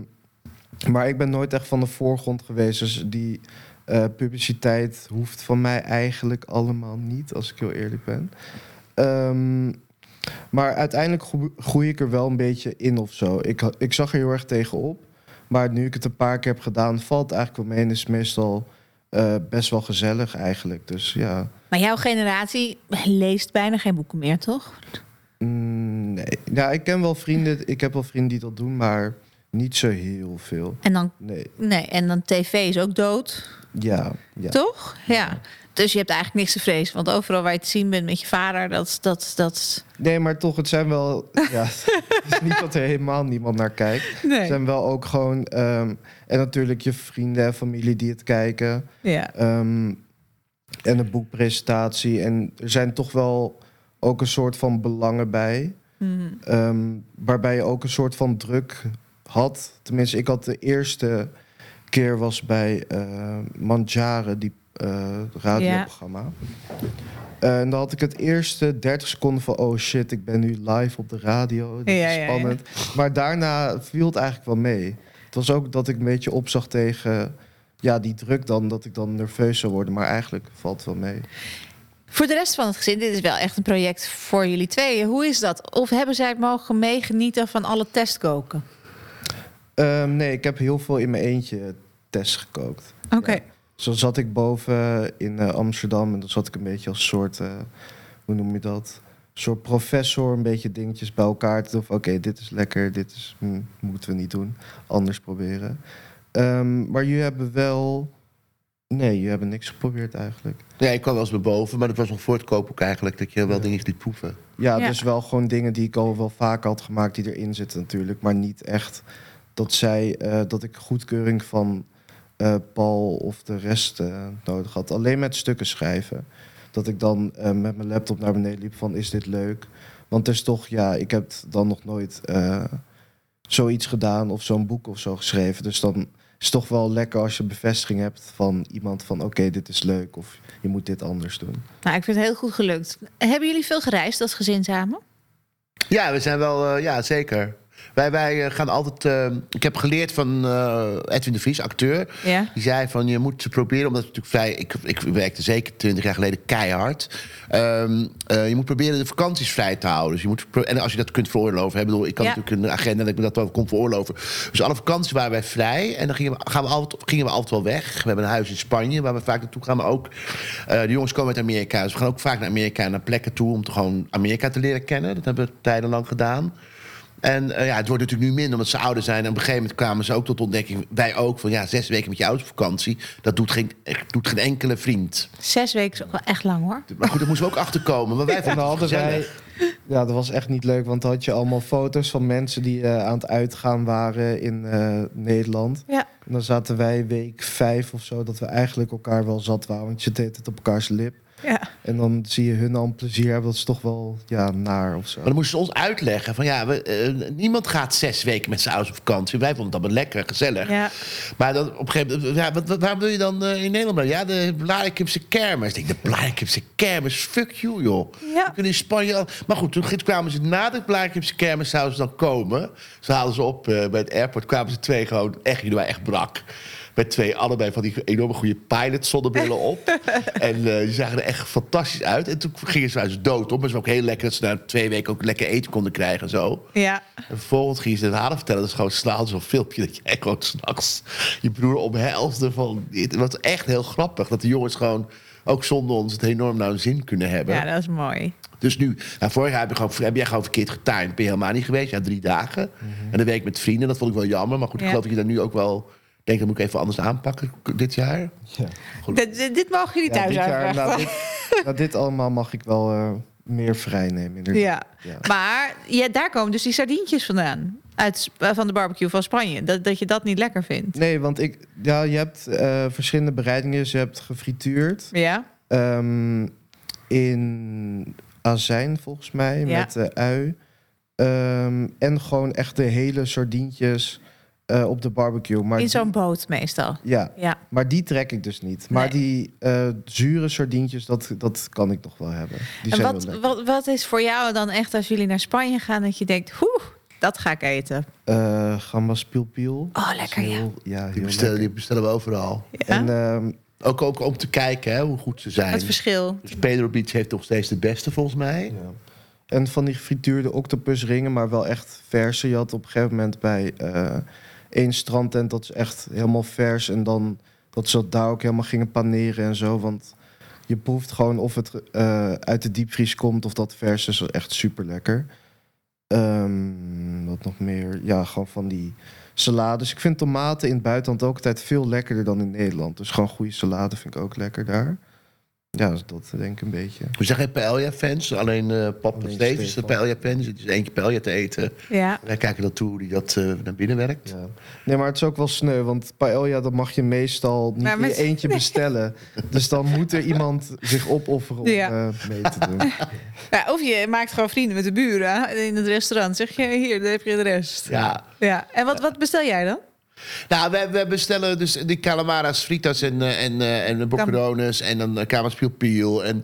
Speaker 3: Maar ik ben nooit echt van de voorgrond geweest. Dus die eh, publiciteit hoeft van mij eigenlijk allemaal niet, als ik heel eerlijk ben. Ehm, maar uiteindelijk groe- groei ik er wel een beetje in of zo. Ik, ha- ik zag er heel erg tegenop. Maar nu ik het een paar keer heb gedaan, valt het eigenlijk wel mee. En is het meestal eh, best wel gezellig eigenlijk. Dus ja,
Speaker 1: Maar jouw generatie leest bijna geen boeken meer, toch?
Speaker 3: Mm, nee. Ja, ik ken wel vrienden. Ik heb wel vrienden die dat doen, maar niet zo heel veel.
Speaker 1: En dan,
Speaker 3: Nee,
Speaker 1: nee, en dan tv is ook dood,
Speaker 3: ja. ja.
Speaker 1: toch? Ja. Dus je hebt eigenlijk niks te vrezen. Want overal waar je te zien bent met je vader, dat, dat, dat...
Speaker 3: Nee, maar toch, het
Speaker 1: (laughs)
Speaker 3: zijn wel. Ja, het is niet dat er helemaal niemand naar kijkt. Het
Speaker 1: Nee.
Speaker 3: zijn wel ook gewoon. ehm, en natuurlijk je vrienden en familie die het kijken.
Speaker 1: Ja.
Speaker 3: Ehm, en een boekpresentatie. En er zijn toch wel ook een soort van belangen bij.
Speaker 1: Mhm.
Speaker 3: Ehm, waarbij je ook een soort van druk had. Tenminste, ik had de eerste keer was bij eh Manjare, die eh, radioprogramma. Eh, en dan had ik het eerste 30 seconden van... oh shit, ik ben nu live op de radio. Dit
Speaker 1: Ja, ja,
Speaker 3: is
Speaker 1: ja.
Speaker 3: spannend. Maar daarna viel het eigenlijk wel mee. Het was ook dat ik een beetje opzag tegen... ja, die druk dan, dat ik dan nerveus zou worden. Maar eigenlijk valt het wel mee.
Speaker 1: Voor de rest van het gezin, dit is wel echt een project voor jullie tweeën. Hoe is dat? Of hebben zij het mogen meegenieten van alle testkoken?
Speaker 3: Ehm, nee, ik heb heel veel in mijn eentje test gekookt.
Speaker 1: Oké.
Speaker 3: Zo zat ik boven in eh, Amsterdam en dan zat ik een beetje als soort, eh, hoe noem je dat? soort professor, een beetje dingetjes bij elkaar te doen. van, Oké, dit is lekker, dit is, hm, moeten we niet doen. Anders proberen. Ehm, maar jullie hebben wel... Nee, jullie hebben niks geprobeerd eigenlijk.
Speaker 2: Ja, ik kwam wel eens naar boven, maar dat was nog voor het kookboek eigenlijk... dat je wel
Speaker 3: Ja.
Speaker 2: dingen liet proeven.
Speaker 3: Ja,
Speaker 1: Ja.
Speaker 3: dus wel gewoon dingen die ik al wel vaker had gemaakt die erin zitten natuurlijk. Maar niet echt dat zij, eh, dat ik goedkeuring van eh, Paul of de rest eh, nodig had. Alleen met stukken schrijven. Dat ik dan eh, met mijn laptop naar beneden liep van is dit leuk? Want het is toch, ja, ik heb het dan nog nooit eh, zoiets gedaan of zo'n boek of zo geschreven. Dus dan is het toch wel lekker als je bevestiging hebt van iemand van oké, dit is leuk of je moet dit anders doen.
Speaker 1: Nou, ik vind het heel goed gelukt. Hebben jullie veel gereisd als gezin samen?
Speaker 2: Ja, we zijn wel, eh, ja zeker. Wij, wij eh, gaan altijd. eh, ik heb geleerd van eh, Edwin de Vries, acteur.
Speaker 1: Ja.
Speaker 2: Die zei van je moet ze proberen, omdat het natuurlijk vrij. Ik, ik werkte zeker 20 jaar geleden keihard. Ehm, eh, je moet proberen de vakanties vrij te houden. Dus je moet, pro- en als je dat kunt veroorloven. Hè, ik bedoel, ik had
Speaker 1: Ja.
Speaker 2: natuurlijk een agenda dat ik me dat wel kon veroorloven. Dus alle vakanties waren wij vrij. En dan gingen we, gaan we altijd, gingen we altijd wel weg. We hebben een huis in Spanje waar we vaak naartoe gaan. Maar ook eh, de jongens komen uit Amerika. Dus we gaan ook vaak naar Amerika en naar plekken toe om te gewoon Amerika te leren kennen. Dat hebben we tijdenlang gedaan. En eh, ja, het wordt natuurlijk nu minder omdat ze ouder zijn. En op een gegeven moment kwamen ze ook tot ontdekking, wij ook, van ja, zes weken met je ouders op vakantie. Dat doet geen, echt, doet geen enkele vriend.
Speaker 1: Zes weken is ook wel echt lang hoor.
Speaker 2: Maar goed, daar moesten we ook achter komen. Maar wij
Speaker 3: En
Speaker 2: vonden
Speaker 3: dan
Speaker 2: het
Speaker 3: hadden wij.
Speaker 2: gezellig.
Speaker 3: Ja, dat was echt niet leuk, want dan had je allemaal foto's van mensen die eh, aan het uitgaan waren in eh, Nederland.
Speaker 1: Ja.
Speaker 3: En dan zaten wij week vijf of zo, dat we eigenlijk elkaar wel zat waren, want je deed het op elkaars lip.
Speaker 1: Ja.
Speaker 3: En dan zie je hun al een plezier hebben, dat is toch wel ja, naar of zo.
Speaker 2: Maar dan moesten ze ons uitleggen van ja, we, eh, niemand gaat zes weken met zijn ouders op vakantie. Wij vonden dat wel lekker, gezellig.
Speaker 1: ja.
Speaker 2: Maar dan, op een gegeven moment, ja, wat, wat- waar wil je dan eh, in Nederland blijven? Ja, de Blarikimse kermis. Ik denk, de Blarikimse kermis, fuck you, joh.
Speaker 1: Ja.
Speaker 2: We kunnen in Spanje al... Maar goed, toen kwamen ze na de Blarikimse kermis, zouden ze dan komen. Ze haalden ze op eh, bij het airport, kwamen ze twee gewoon, echt, jullie waren echt brak. Met twee allebei van die enorme goede pilot zonnebrillen op. en eh, die zagen er echt fantastisch uit. En toen gingen ze uit ze dood op. Maar ze was ook heel lekker dat ze na twee weken ook lekker eten konden krijgen en zo.
Speaker 1: Ja.
Speaker 2: En vervolgens ging ze het halen vertellen. Dat is gewoon s'avonds zo'n filmpje dat jij gewoon s'nachts je broer omhelste. Van, het was echt heel grappig dat de jongens gewoon ook zonder ons het enorm naar hun zin kunnen hebben.
Speaker 1: ja, dat is mooi.
Speaker 2: Dus nu, nou, vorig jaar heb, ik gewoon, heb jij gewoon verkeerd getimed. Ben je helemaal niet geweest? Ja, drie dagen. En een week met vrienden. Dat vond ik wel jammer. Maar goed,
Speaker 1: Mhm.
Speaker 2: ik
Speaker 1: Ja.
Speaker 2: geloof dat je daar nu ook wel... Ik denk, dat moet ik even anders aanpakken k- dit jaar.
Speaker 3: Ja.
Speaker 1: Dit, dit- dit mogen jullie
Speaker 3: Ja,
Speaker 1: thuis
Speaker 3: dit
Speaker 1: (laughs)
Speaker 3: jaar,
Speaker 1: uitleggen.
Speaker 3: na, dit, na dit allemaal mag ik wel eh, meer vrij nemen. Inderdaad.
Speaker 1: Ja.
Speaker 3: Ja.
Speaker 1: Maar ja, daar komen dus die sardientjes vandaan. Uit, Sp- eh, van de barbecue van Spanje. Dat, dat je dat niet lekker vindt.
Speaker 3: Nee, want ik, ja, je hebt eh, verschillende bereidingen. Dus je hebt gefrituurd.
Speaker 1: Ja?
Speaker 3: Ehm, in azijn, volgens mij,
Speaker 1: Ja.
Speaker 3: met de ui. Ehm, en gewoon echt de hele sardientjes eh, op de barbecue. Maar
Speaker 1: In zo'n
Speaker 3: die-
Speaker 1: boot meestal.
Speaker 3: Ja,
Speaker 1: Ja.
Speaker 3: maar die trek ik dus niet. Maar
Speaker 1: Nee.
Speaker 3: die eh, zure sardientjes, dat, dat kan ik nog wel hebben. Die
Speaker 1: En
Speaker 3: zijn
Speaker 1: wat,
Speaker 3: wel lekker.
Speaker 1: wat, wat is voor jou dan echt als jullie naar Spanje gaan dat je denkt, hoe, Dat ga ik eten.
Speaker 3: eh gambas piel piel.
Speaker 4: Oh, lekker,
Speaker 3: Is
Speaker 4: ja.
Speaker 3: heel- ja.
Speaker 2: Die
Speaker 3: heel
Speaker 2: bestellen, die
Speaker 3: lekker.
Speaker 2: bestellen we overal.
Speaker 1: Ja?
Speaker 3: En eh, ehm,
Speaker 2: Ook, ook om te kijken hè, hoe goed ze zijn.
Speaker 1: Het verschil.
Speaker 2: Dus Pedro Beach heeft nog steeds de beste volgens mij.
Speaker 3: Ja. En van die gefrituurde octopusringen, maar wel echt verse. Je had op een gegeven moment bij eh één strandtent, dat is echt helemaal vers. En dan dat ze dat daar ook helemaal gingen paneren en zo. Want je proeft gewoon of het eh, uit de diepvries komt of dat vers is. Dat is Echt super lekker. wat nog meer? Ja, gewoon van die salades. Ik vind tomaten in het buitenland ook altijd veel lekkerder dan in Nederland. Dus gewoon goede salade vind ik ook lekker daar. Ja, dus dat denk ik een beetje.
Speaker 2: We zijn geen Paella-fans, alleen eh pap en
Speaker 3: Alleen
Speaker 2: Steve is de
Speaker 3: Stefan.
Speaker 2: Paella-fans. Het is één keer Paella te eten.
Speaker 1: Ja.
Speaker 2: Wij kijken dan toe hoe die dat eh, naar binnen werkt.
Speaker 3: Ja. Nee, maar het is ook wel sneu, want paella dat mag je meestal niet
Speaker 1: Maar
Speaker 3: in je
Speaker 1: met-
Speaker 3: eentje bestellen. Dus dan moet er iemand zich opofferen om
Speaker 1: Ja.
Speaker 3: eh, mee te doen.
Speaker 1: ja. Of je maakt gewoon vrienden met de buren in het restaurant. Zeg je, hier, daar heb je de rest.
Speaker 2: Ja.
Speaker 1: Ja. En wat, wat bestel jij dan?
Speaker 2: Nou, we, we bestellen dus die calamaras, fritas en, eh, en, eh, en boccherones en dan kamerspiel piel. En,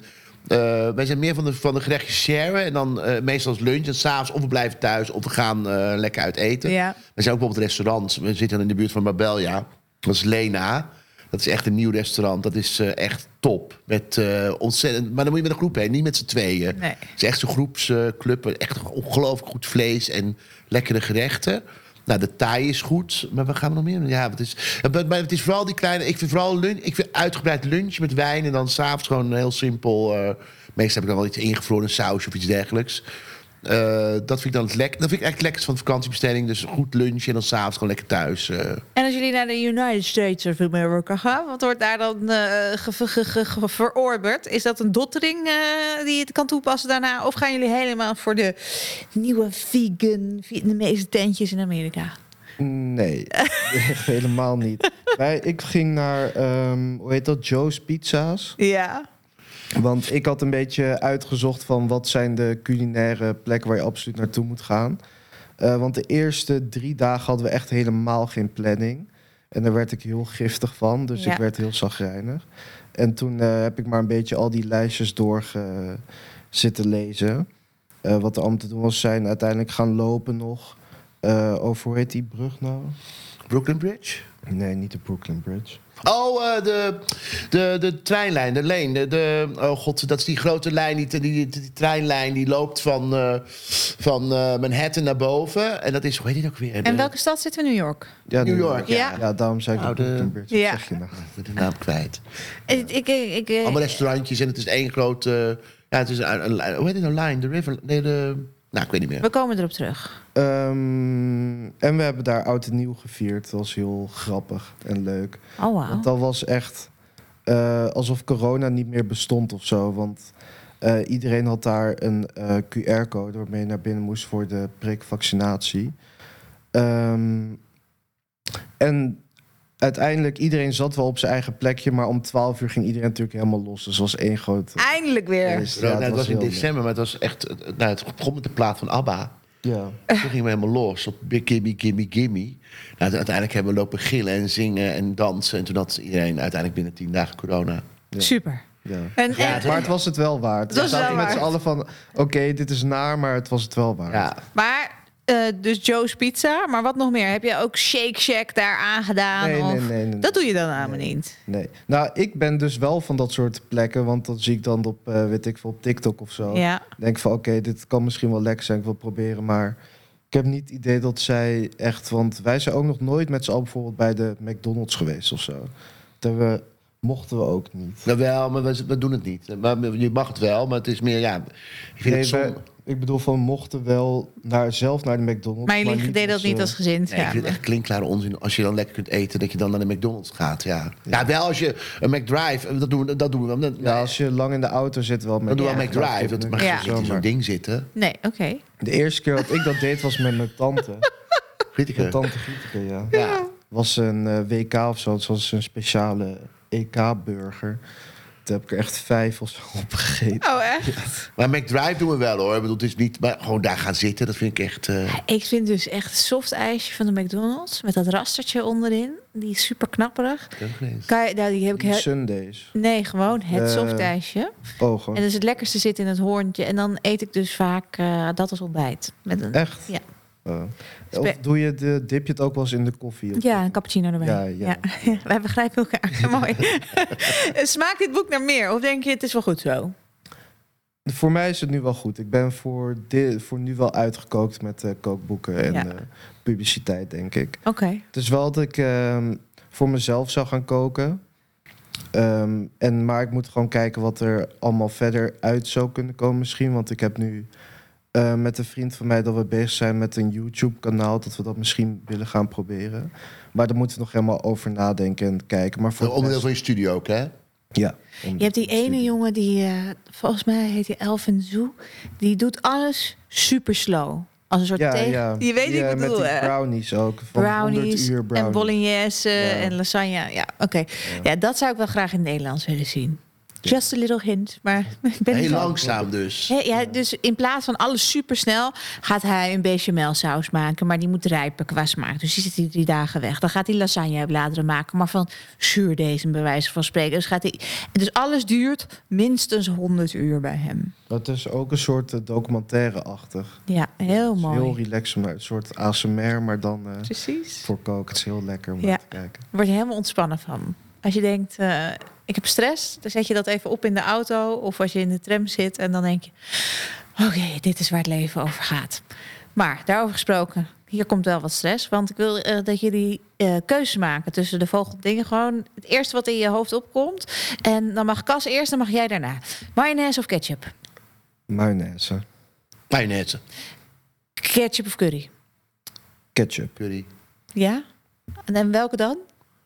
Speaker 2: eh, wij zijn meer van de, van de gerechtjes sharen. En dan eh, meestal als lunch. En s'avonds of we blijven thuis of we gaan eh, lekker uit eten.
Speaker 1: Ja.
Speaker 2: We zijn ook wel op het restaurant. We zitten in de buurt van Marbella. Dat is Lena. Dat is echt een nieuw restaurant. Dat is eh, echt top. Met, eh, ontzettend, maar dan moet je met een groep heen, niet met z'n tweeën.
Speaker 1: Nee.
Speaker 2: Het is echt zo'n groepsclub. echt ongelooflijk goed vlees en lekkere gerechten. Nou, de taai is goed. Maar wat gaan we nog meer doen? Ja, het is, maar maar het is vooral die kleine... Ik vind vooral lunch, ik vind uitgebreid lunch met wijn... en dan s'avonds gewoon heel simpel... eh, meestal heb ik dan wel iets ingevroren, een saus of iets dergelijks. Eh, dat vind ik dan het lek. Dat vind ik echt lekker van de vakantiebestelling. Dus goed lunch en dan s'avonds gewoon lekker thuis. eh.
Speaker 1: En als jullie naar de United States of America gaan, wat wordt daar dan eh, ge- ge- ge- ge- verorberd? Is dat een dottering eh, die je kan toepassen daarna? Of gaan jullie helemaal voor de nieuwe vegan Vietnamese tentjes in Amerika?
Speaker 3: Nee, helemaal niet. Wij, ik ging naar, ehm, hoe heet dat, Joe's Pizza's.
Speaker 1: Ja.
Speaker 3: Want ik had een beetje uitgezocht van wat zijn de culinaire plekken waar je absoluut naartoe moet gaan. Eh, want de eerste drie dagen hadden we echt helemaal geen planning. En daar werd ik heel giftig van, dus
Speaker 1: Ja.
Speaker 3: ik werd heel zagrijnig. En toen eh, heb ik maar een beetje al die lijstjes door ge- zitten lezen. Eh, wat er allemaal te doen was, zijn uiteindelijk gaan lopen nog. eh, over, hoe heet die brug nou?
Speaker 2: Brooklyn Bridge?
Speaker 3: Nee, niet de Brooklyn Bridge.
Speaker 2: Oh, eh, de, de, de treinlijn, de leen. De, de- oh god, dat is die grote lijn, die, die, die, die treinlijn die loopt van, eh, van eh, Manhattan naar boven. En dat is, hoe heet dit ook weer?
Speaker 1: En
Speaker 2: De-
Speaker 1: welke stad zitten we in New York?
Speaker 3: Ja,
Speaker 2: New York, ja.
Speaker 1: Ja.
Speaker 3: Ja, daarom zei ik de
Speaker 2: Nou, de-
Speaker 3: Brooklyn Bridge. Wat
Speaker 1: Ja.
Speaker 3: zeg je nou?
Speaker 2: Ik ben de naam kwijt.
Speaker 1: Eh, Ik, ik, ik, ik-
Speaker 2: Allemaal restaurantjes en het is één groot... eh, ja, het is een, een, een- hoe heet het nou? Line, de river... Nee, de... Nou, ik weet niet meer.
Speaker 1: we komen erop terug.
Speaker 3: Ehm, en we hebben daar oud en nieuw gevierd. Dat was heel grappig en leuk.
Speaker 1: Oh, wauw.
Speaker 3: Want dat was echt eh, alsof corona niet meer bestond of zo. Want eh, iedereen had daar een eh, QR-code waarmee je naar binnen moest voor de prikvaccinatie. Ehm, en uiteindelijk, iedereen zat wel op zijn eigen plekje. Maar om 12 uur ging iedereen natuurlijk helemaal los. Dus het was één groot.
Speaker 1: Eindelijk weer.
Speaker 3: feest. Ja,
Speaker 2: Nou, het was, in
Speaker 3: heel leuk.
Speaker 2: december, maar het was echt... eh, Nou, het begon met de plaat van ABBA.
Speaker 3: Ja.
Speaker 2: Toen gingen we helemaal los op Big Gimme, Gimme, Gimme. Nou, toen uiteindelijk hebben we lopen gillen en zingen en dansen. En toen had iedereen uiteindelijk binnen tien dagen corona.
Speaker 3: Ja.
Speaker 1: Super.
Speaker 3: ja.
Speaker 1: En,
Speaker 2: Ja,
Speaker 1: en-
Speaker 3: Maar het was het wel waard.
Speaker 1: Het was
Speaker 3: We zaten
Speaker 1: wel
Speaker 3: met z'n
Speaker 1: waard.
Speaker 3: allen van, oké, dit is naar, maar het was het wel waard.
Speaker 2: Ja.
Speaker 1: maar eh, dus Joe's Pizza, maar wat nog meer? Heb je ook Shake Shack daar aangedaan?
Speaker 3: Nee,
Speaker 1: of...
Speaker 3: nee, nee, nee,
Speaker 1: Dat doe je dan allemaal
Speaker 3: Nee.
Speaker 1: niet.
Speaker 3: Nee. Nou, ik ben dus wel van dat soort plekken, want dat zie ik dan op, eh, weet ik veel, op TikTok of zo.
Speaker 1: Ja.
Speaker 3: Denk van, oké, dit kan misschien wel lekker zijn, ik wil het proberen, maar ik heb niet het idee dat zij echt, want wij zijn ook nog nooit met z'n allen bijvoorbeeld bij de McDonald's geweest of zo. Dat we, mochten we ook niet.
Speaker 2: Nou wel, maar we, we doen het niet. Maar je mag het wel, maar het is meer, ja... Ik vind
Speaker 3: Nee,
Speaker 2: het zonde.
Speaker 3: wij- ik bedoel van, mochten wel naar, zelf naar de McDonald's.
Speaker 1: Maar jullie deden dat
Speaker 3: onze-
Speaker 1: niet als gezin.
Speaker 2: Nee,
Speaker 1: ja.
Speaker 2: ik vind het echt klinkklare onzin. Als je dan lekker kunt eten, dat je dan naar de McDonald's gaat, ja. Ja, wel als je een McDrive... eh, Dat doen we, dat doen we wel. Dat,
Speaker 3: Ja, als je lang in de auto zit wel.
Speaker 2: dat doen we
Speaker 1: Ja.
Speaker 2: aan McDrive. Dat mag
Speaker 1: Ja.
Speaker 2: je niet in zo'n ding zitten.
Speaker 1: Nee, oké.
Speaker 3: De eerste keer dat ik dat deed was met mijn
Speaker 2: (laughs)
Speaker 3: tante. Mijn
Speaker 2: Kritiker.
Speaker 3: tante Gieteke, ja.
Speaker 2: Ja.
Speaker 3: Was een eh, WK of zo. Het was een speciale EK-burger. Toen heb ik er echt vijf of zo opgegeten.
Speaker 1: Oh, echt?
Speaker 2: Maar McDrive doen we wel, hoor. Ik bedoel, het is niet... Maar gewoon daar gaan zitten, dat vind ik echt... eh,
Speaker 1: Ik vind dus echt soft ijsje van de McDonald's met dat rastertje onderin. Die is super knapperig.
Speaker 2: Keukenvlees.
Speaker 1: Kan je, nou, die heb ik
Speaker 3: Die
Speaker 1: he-
Speaker 3: Sundays.
Speaker 1: nee, gewoon het
Speaker 3: Eh,
Speaker 1: soft ijsje.
Speaker 3: Oh,
Speaker 1: En
Speaker 3: gewoon.
Speaker 1: dat is het lekkerste zit in het hoorntje. En dan eet ik dus vaak eh, dat als ontbijt. Met een,
Speaker 3: Echt?
Speaker 1: Ja.
Speaker 3: eh, of
Speaker 1: Spe-
Speaker 3: doe je de, dip je het ook wel eens in de koffie? of-
Speaker 5: Ja, een cappuccino erbij.
Speaker 3: ja, ja.
Speaker 1: Wij begrijpen elkaar. (laughs) Mooi. Smaakt dit boek naar meer? Of denk je, het is wel goed zo?
Speaker 3: Voor mij is het nu wel goed. Ik ben voor, di- voor nu wel uitgekookt met eh, kookboeken en
Speaker 1: Ja.
Speaker 3: eh, publiciteit, denk ik.
Speaker 1: Oké.
Speaker 3: Het is wel dat ik ehm, voor mezelf zou gaan koken. Ehm, en, maar ik moet gewoon kijken wat er allemaal verder uit zou kunnen komen misschien. Want ik heb nu eh, met een vriend van mij dat we bezig zijn met een YouTube-kanaal. Dat we dat misschien willen gaan proberen. Maar daar moeten we nog helemaal over nadenken en kijken. Maar voor
Speaker 2: Een
Speaker 3: de
Speaker 2: onderdeel
Speaker 3: rest-
Speaker 2: van je studie ook, hè?
Speaker 3: Ja.
Speaker 1: Je hebt die ene jongen die, eh, volgens mij heet hij Elvin Zoo. Die doet alles super slow. Als een soort
Speaker 3: Ja,
Speaker 1: tegen.
Speaker 3: ja.
Speaker 1: Je weet
Speaker 3: Die,
Speaker 1: wat ik
Speaker 3: eh,
Speaker 1: bedoel,
Speaker 3: Met die
Speaker 1: hè?
Speaker 3: brownies ook. Van
Speaker 1: Brownies
Speaker 3: 100 uur brownies.
Speaker 1: en bolognese
Speaker 3: Ja.
Speaker 1: en lasagne. Ja, oké. Ja. dat zou ik wel graag in het Nederlands willen zien. Just a little hint, maar ik ben
Speaker 2: Heel
Speaker 1: niet-
Speaker 2: langzaam dus.
Speaker 1: Hè, ja, dus in plaats van alles supersnel gaat hij een bechamel saus maken, maar die moet rijpen qua smaak. Dus die zit die drie dagen weg. Dan gaat hij lasagne bladeren maken, maar van zuurdezen bij wijze van spreken. Dus, gaat hij, dus alles duurt minstens 100 uur bij hem.
Speaker 3: Dat is ook een soort eh, documentaire-achtig.
Speaker 1: Ja, heel
Speaker 3: Het is
Speaker 1: mooi.
Speaker 3: Heel relaxed, maar een soort ASMR, maar dan eh,
Speaker 1: Precies.
Speaker 3: voor koken. Het is heel lekker om
Speaker 1: Ja.
Speaker 3: naar te kijken.
Speaker 1: Word je helemaal ontspannen van. Als je denkt, eh, ik heb stress, dan zet je dat even op in de auto. Of als je in de tram zit en dan denk je, oké, dit is waar het leven over gaat. Maar daarover gesproken, hier komt wel wat stress. Want ik wil eh, dat jullie eh keuzes maken tussen de volgende dingen. Gewoon het eerste wat in je hoofd opkomt. En dan mag Cas eerst, dan mag jij daarna. Mayonaise of ketchup?
Speaker 3: Mayonaise,
Speaker 2: Mayonaise,
Speaker 1: Ketchup of curry?
Speaker 3: ketchup.
Speaker 2: curry.
Speaker 1: Ja? En, en welke dan?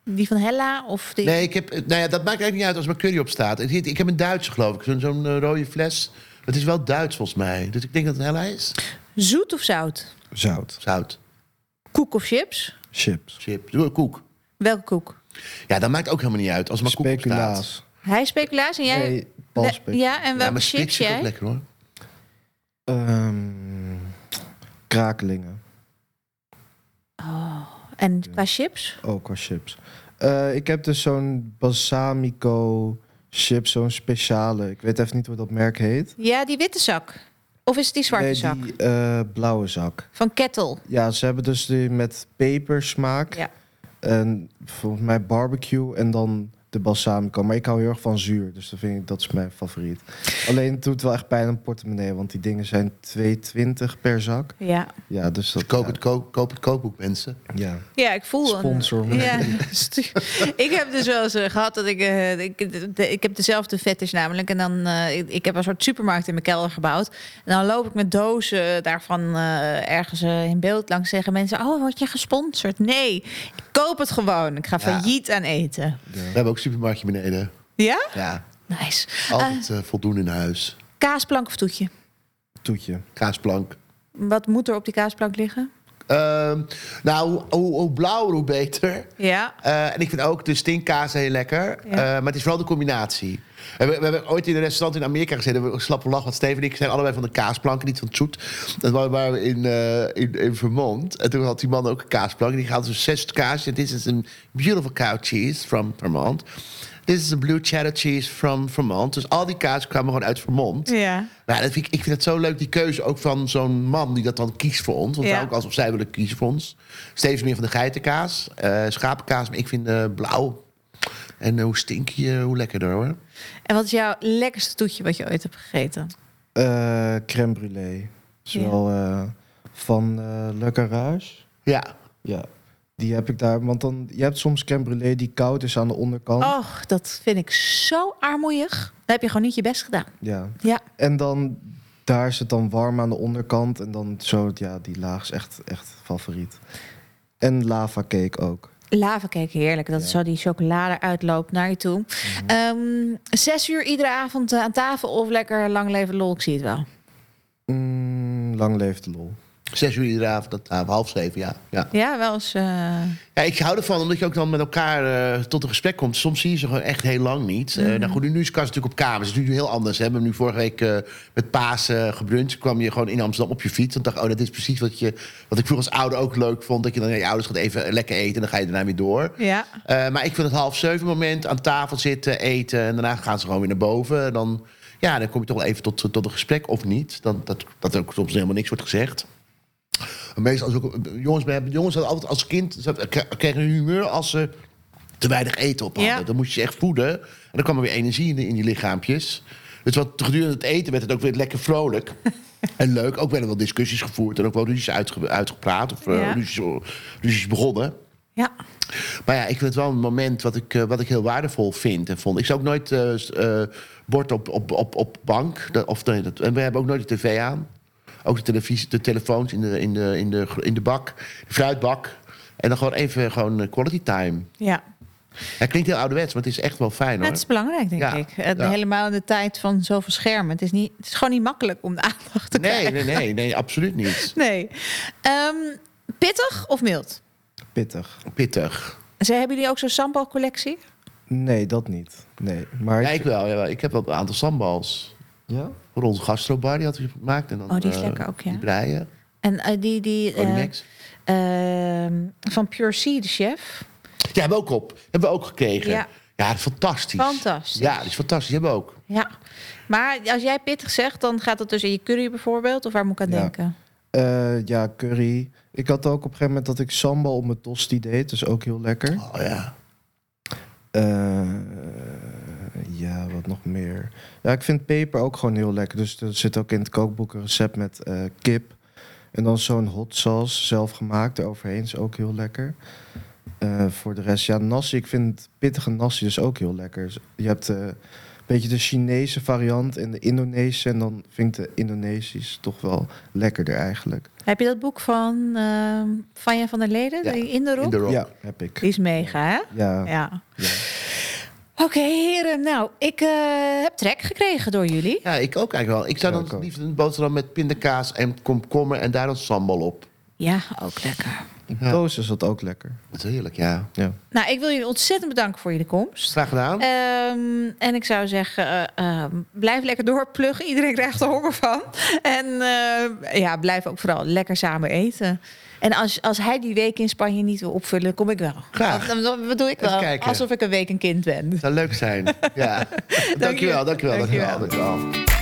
Speaker 1: Die van Hella of die...
Speaker 2: Nee, ik heb, nou ja, dat maakt eigenlijk niet uit als mijn curry op staat. Ik, ik heb een Duitse, geloof ik. Zo'n zo'n, eh, rode fles. Het is wel Duits, volgens mij. Dus ik denk dat het hella is.
Speaker 1: Zoet of zout?
Speaker 3: Zout,
Speaker 2: Zout,
Speaker 1: Koek of chips?
Speaker 3: chips,
Speaker 2: chip, doe- koek.
Speaker 1: Welke koek?
Speaker 2: Ja, dat maakt ook helemaal niet uit als er maar koek op staat.
Speaker 3: speculaas.
Speaker 1: Hij is speculaas en jij...
Speaker 3: Nee, palspeculaas.
Speaker 1: Ja, en
Speaker 2: Ja,
Speaker 1: welke
Speaker 2: maar
Speaker 1: chips
Speaker 2: spits is ook
Speaker 1: jij?
Speaker 2: lekker, hoor.
Speaker 3: Ehm, krakelingen,
Speaker 1: Oh, En qua chips?
Speaker 3: ook als chips. Eh, ik heb dus zo'n balsamico chip, zo'n speciale. Ik weet even niet hoe dat merk heet.
Speaker 1: Ja, die witte zak. Of is het die zwarte
Speaker 3: nee,
Speaker 1: zak?
Speaker 3: die eh, blauwe zak.
Speaker 1: Van Kettle.
Speaker 3: Ja, ze hebben dus die met pepersmaak.
Speaker 1: Ja.
Speaker 3: En volgens mij barbecue en dan de balsamico. Maar ik hou heel erg van zuur, dus dat, vind ik, dat is mijn favoriet. Alleen het doet wel echt pijn aan de portemonnee, want die dingen zijn 2,20 per zak.
Speaker 1: Ja.
Speaker 3: Ja, dus dat...
Speaker 2: Koop het, koop, koop het kookboek, mensen.
Speaker 3: Ja,
Speaker 1: Ja, ik voel een-
Speaker 3: sponsor. me.
Speaker 1: Ja, (laughs) stu- ik heb dus wel eens eh, gehad dat ik, eh, ik, de- de- ik heb dezelfde fetish namelijk. En dan, eh, ik, ik heb een soort supermarkt in mijn kelder gebouwd. En dan loop ik met dozen daarvan eh, ergens eh, in beeld langs. Zeggen mensen, oh, word je gesponsord? Nee, ik koop het gewoon. Ik ga
Speaker 2: Ja.
Speaker 1: failliet aan eten.
Speaker 2: We hebben ook een supermarktje beneden.
Speaker 1: Ja?
Speaker 2: Ja,
Speaker 1: Nice. Eh,
Speaker 2: altijd eh, voldoende in huis.
Speaker 1: kaasplank of toetje?
Speaker 3: (laughs) Toetje.
Speaker 2: Kaasplank.
Speaker 1: Wat moet er op die kaasplank liggen?
Speaker 2: Ehm, nou, hoe, hoe, hoe blauwer, hoe beter.
Speaker 1: Ja.
Speaker 2: Eh, en ik vind ook de stinkkaas heel lekker.
Speaker 1: Ja.
Speaker 2: Eh, maar het is vooral de combinatie. En we, we hebben ooit in een restaurant in Amerika gezeten. We slappen lach, want Steven en ik zijn allebei van de kaasplanken, niet van het zoet. Dat wa- waren we in, eh, in, in Vermont. En toen had die man ook een kaasplank. En die gaat dus zes kaasjes. This is een beautiful cow cheese from Vermont. This is a blue cheddar cheese from Vermont. Dus al die kaas kwamen gewoon uit Vermont.
Speaker 1: Ja.
Speaker 2: Nou, dat vind ik, ik vind het zo leuk, die keuze ook van zo'n man die dat dan kiest voor ons. Want
Speaker 1: Ja.
Speaker 2: het is ook alsof zij willen kiezen voor ons. Steeds meer van de geitenkaas, eh, schapenkaas. Maar ik vind eh, blauw. En eh, hoe stink je, hoe lekkerder hoor.
Speaker 1: En wat is jouw lekkerste toetje wat je ooit hebt gegeten?
Speaker 3: Eh crème brûlée. Is
Speaker 1: Ja.
Speaker 3: wel eh, van eh Le Garage.
Speaker 2: Ja,
Speaker 3: Ja. Die heb ik daar, want dan, je hebt soms crème brûlée die koud is aan de onderkant.
Speaker 2: Oh.
Speaker 1: Och, dat vind ik zo armoeig. Dan heb je gewoon niet je best gedaan.
Speaker 3: Ja.
Speaker 1: Ja.
Speaker 3: En dan daar is het dan warm aan de onderkant. En dan zo, ja, die laag is echt, echt favoriet. En lava cake ook.
Speaker 1: Lavacake, heerlijk. Dat zo die chocolade eruit loopt naar je toe. Ehm, zes uur iedere avond eh, aan tafel of lekker lang leven lol. Ik zie het wel.
Speaker 3: Mm, lang leef de lol.
Speaker 2: zes uur iedere avond, dat, ah, half zeven, ja. ja.
Speaker 1: Ja, wel eens. eh,
Speaker 2: Ja, ik hou ervan, omdat je ook dan met elkaar eh, tot een gesprek komt. Soms zie je ze gewoon echt heel lang niet. Eh, nou goed, nu is Kast natuurlijk op kamers. Het is nu heel anders. Hè. We hebben nu vorige week eh, met Paas eh gebruncht. kwam je gewoon in Amsterdam op je fiets. En dacht, oh, dat is precies wat, je, wat ik vroeger als ouder ook leuk vond. Dat je dan naar je ouders gaat even lekker eten en dan ga je daarna weer door.
Speaker 1: ja.
Speaker 2: Eh, maar ik vind het half zeven moment aan tafel zitten, eten. En daarna gaan ze gewoon weer naar boven. En dan, ja, dan kom je toch wel even tot, tot een gesprek of niet. Dan, dat, dat er ook soms helemaal niks wordt gezegd. Maar meestal is ook, eh, jongens, we hebben- jongens hadden altijd als kind ze hadden- k- kregen hun humeur als ze te weinig eten op hadden.
Speaker 1: Ja.
Speaker 2: Dan moest je ze echt voeden. En dan kwam er weer energie in, die- in die lichaampjes. Dus wat gedurende het eten werd het ook weer lekker
Speaker 1: (laughs)
Speaker 2: vrolijk. en leuk. Ook werden wel discussies gevoerd en ook wel ruzies uitge- uitgepraat. Of eh,
Speaker 1: Ja.
Speaker 2: ruzies, ruzies begonnen.
Speaker 1: Ja.
Speaker 2: Maar ja, ik vind het wel een moment wat ik, eh, wat ik heel waardevol vind en vond. Ik zou ook nooit eh, s- eh, bord op, op, op, op bank. Dat, of, nee, dat, en we hebben ook nooit de tv aan. Ook de televisie, de telefoons in de, in de, in de, gro- in de bak, de fruitbak. En dan gewoon even gewoon eh, quality time.
Speaker 1: ja.
Speaker 2: Het klinkt heel ouderwets, maar het is echt wel fijn hoor.
Speaker 1: het is belangrijk, denk
Speaker 2: Ja,
Speaker 1: ik. Het-
Speaker 2: ja.
Speaker 1: Helemaal in de tijd van zoveel schermen. Het is, niet, het is gewoon niet makkelijk om de aandacht te
Speaker 2: Nee,
Speaker 1: krijgen.
Speaker 2: nee, nee, nee, absoluut niet.
Speaker 1: Nee. Ehm, pittig of mild?
Speaker 3: Pittig.
Speaker 2: Pittig.
Speaker 1: Ze hebben jullie ook zo'n sambal-collectie?
Speaker 3: Nee, dat niet. Nee. Maar
Speaker 2: Ja, ik wel. Ja, ik heb wel een aantal sambals.
Speaker 3: Ja?
Speaker 2: Rond gastrobar, die had hij gemaakt. En dan,
Speaker 1: Oh, die is
Speaker 2: eh,
Speaker 1: lekker ook, ja.
Speaker 2: Die breien.
Speaker 1: En eh, die, die eh,
Speaker 2: Codimex.
Speaker 1: ehm, van Pure Sea, de chef.
Speaker 2: Ja, hebben we ook op. Hebben we ook gekregen.
Speaker 1: Ja.
Speaker 2: Ja, fantastisch.
Speaker 1: Fantastisch.
Speaker 2: Ja, dat is fantastisch. Hebben we ook.
Speaker 1: Ja. Maar als jij pittig zegt, dan gaat dat dus in je curry bijvoorbeeld? Of waar moet ik aan
Speaker 3: Ja.
Speaker 1: denken?
Speaker 3: Eh, ja, curry. Ik had ook op een gegeven moment dat ik sambal op mijn tosti deed. Dus ook heel lekker.
Speaker 2: Oh ja.
Speaker 3: Eh, ja, wat nog meer. Ja, ik vind peper ook gewoon heel lekker. Dus er zit ook in het kookboek een recept met eh, kip. En dan zo'n hot sauce, zelf gemaakt eroverheen, is ook heel lekker. Eh, voor de rest, ja, nasi. Ik vind pittige nasi dus ook heel lekker. Je hebt eh, een beetje de Chinese variant en de Indonesische. En dan vind ik de Indonesisch toch wel lekkerder eigenlijk.
Speaker 1: Heb je dat boek van ehm Vanja van der Leden?
Speaker 2: Ja,
Speaker 1: Die In de
Speaker 2: In
Speaker 1: Roep?
Speaker 2: de rock.
Speaker 3: Ja, heb ik.
Speaker 1: Die is mega, hè?
Speaker 3: Ja, ja.
Speaker 1: Ja. Oké, heren. Nou, ik eh, heb trek gekregen door jullie.
Speaker 2: Ja, ik ook eigenlijk wel. Ik zou
Speaker 3: Ja,
Speaker 2: dan
Speaker 3: ik ook.
Speaker 2: liefst een boterham met pindakaas en komkommer en daar dan sambal op.
Speaker 1: Ja, ook lekker.
Speaker 3: Toast is dat ook lekker.
Speaker 2: Dat is heerlijk, ja.
Speaker 3: Ja.
Speaker 1: Nou, ik wil jullie ontzettend bedanken voor jullie komst.
Speaker 2: Graag gedaan.
Speaker 1: Ehm, en ik zou zeggen, eh, ehm, blijf lekker doorpluggen. Iedereen krijgt er honger van. En eh, ja, blijf ook vooral lekker samen eten. En als, als hij die week in Spanje niet wil opvullen, kom ik wel.
Speaker 2: Graag.
Speaker 1: Dan, dan- dan doe ik
Speaker 2: Even
Speaker 1: wel.
Speaker 2: kijken.
Speaker 1: Alsof ik een week een kind ben. (laughs)
Speaker 2: Het zou leuk zijn. ja. dankjewel, dankjewel, dankjewel,
Speaker 1: Dankjewel.
Speaker 2: dankjewel.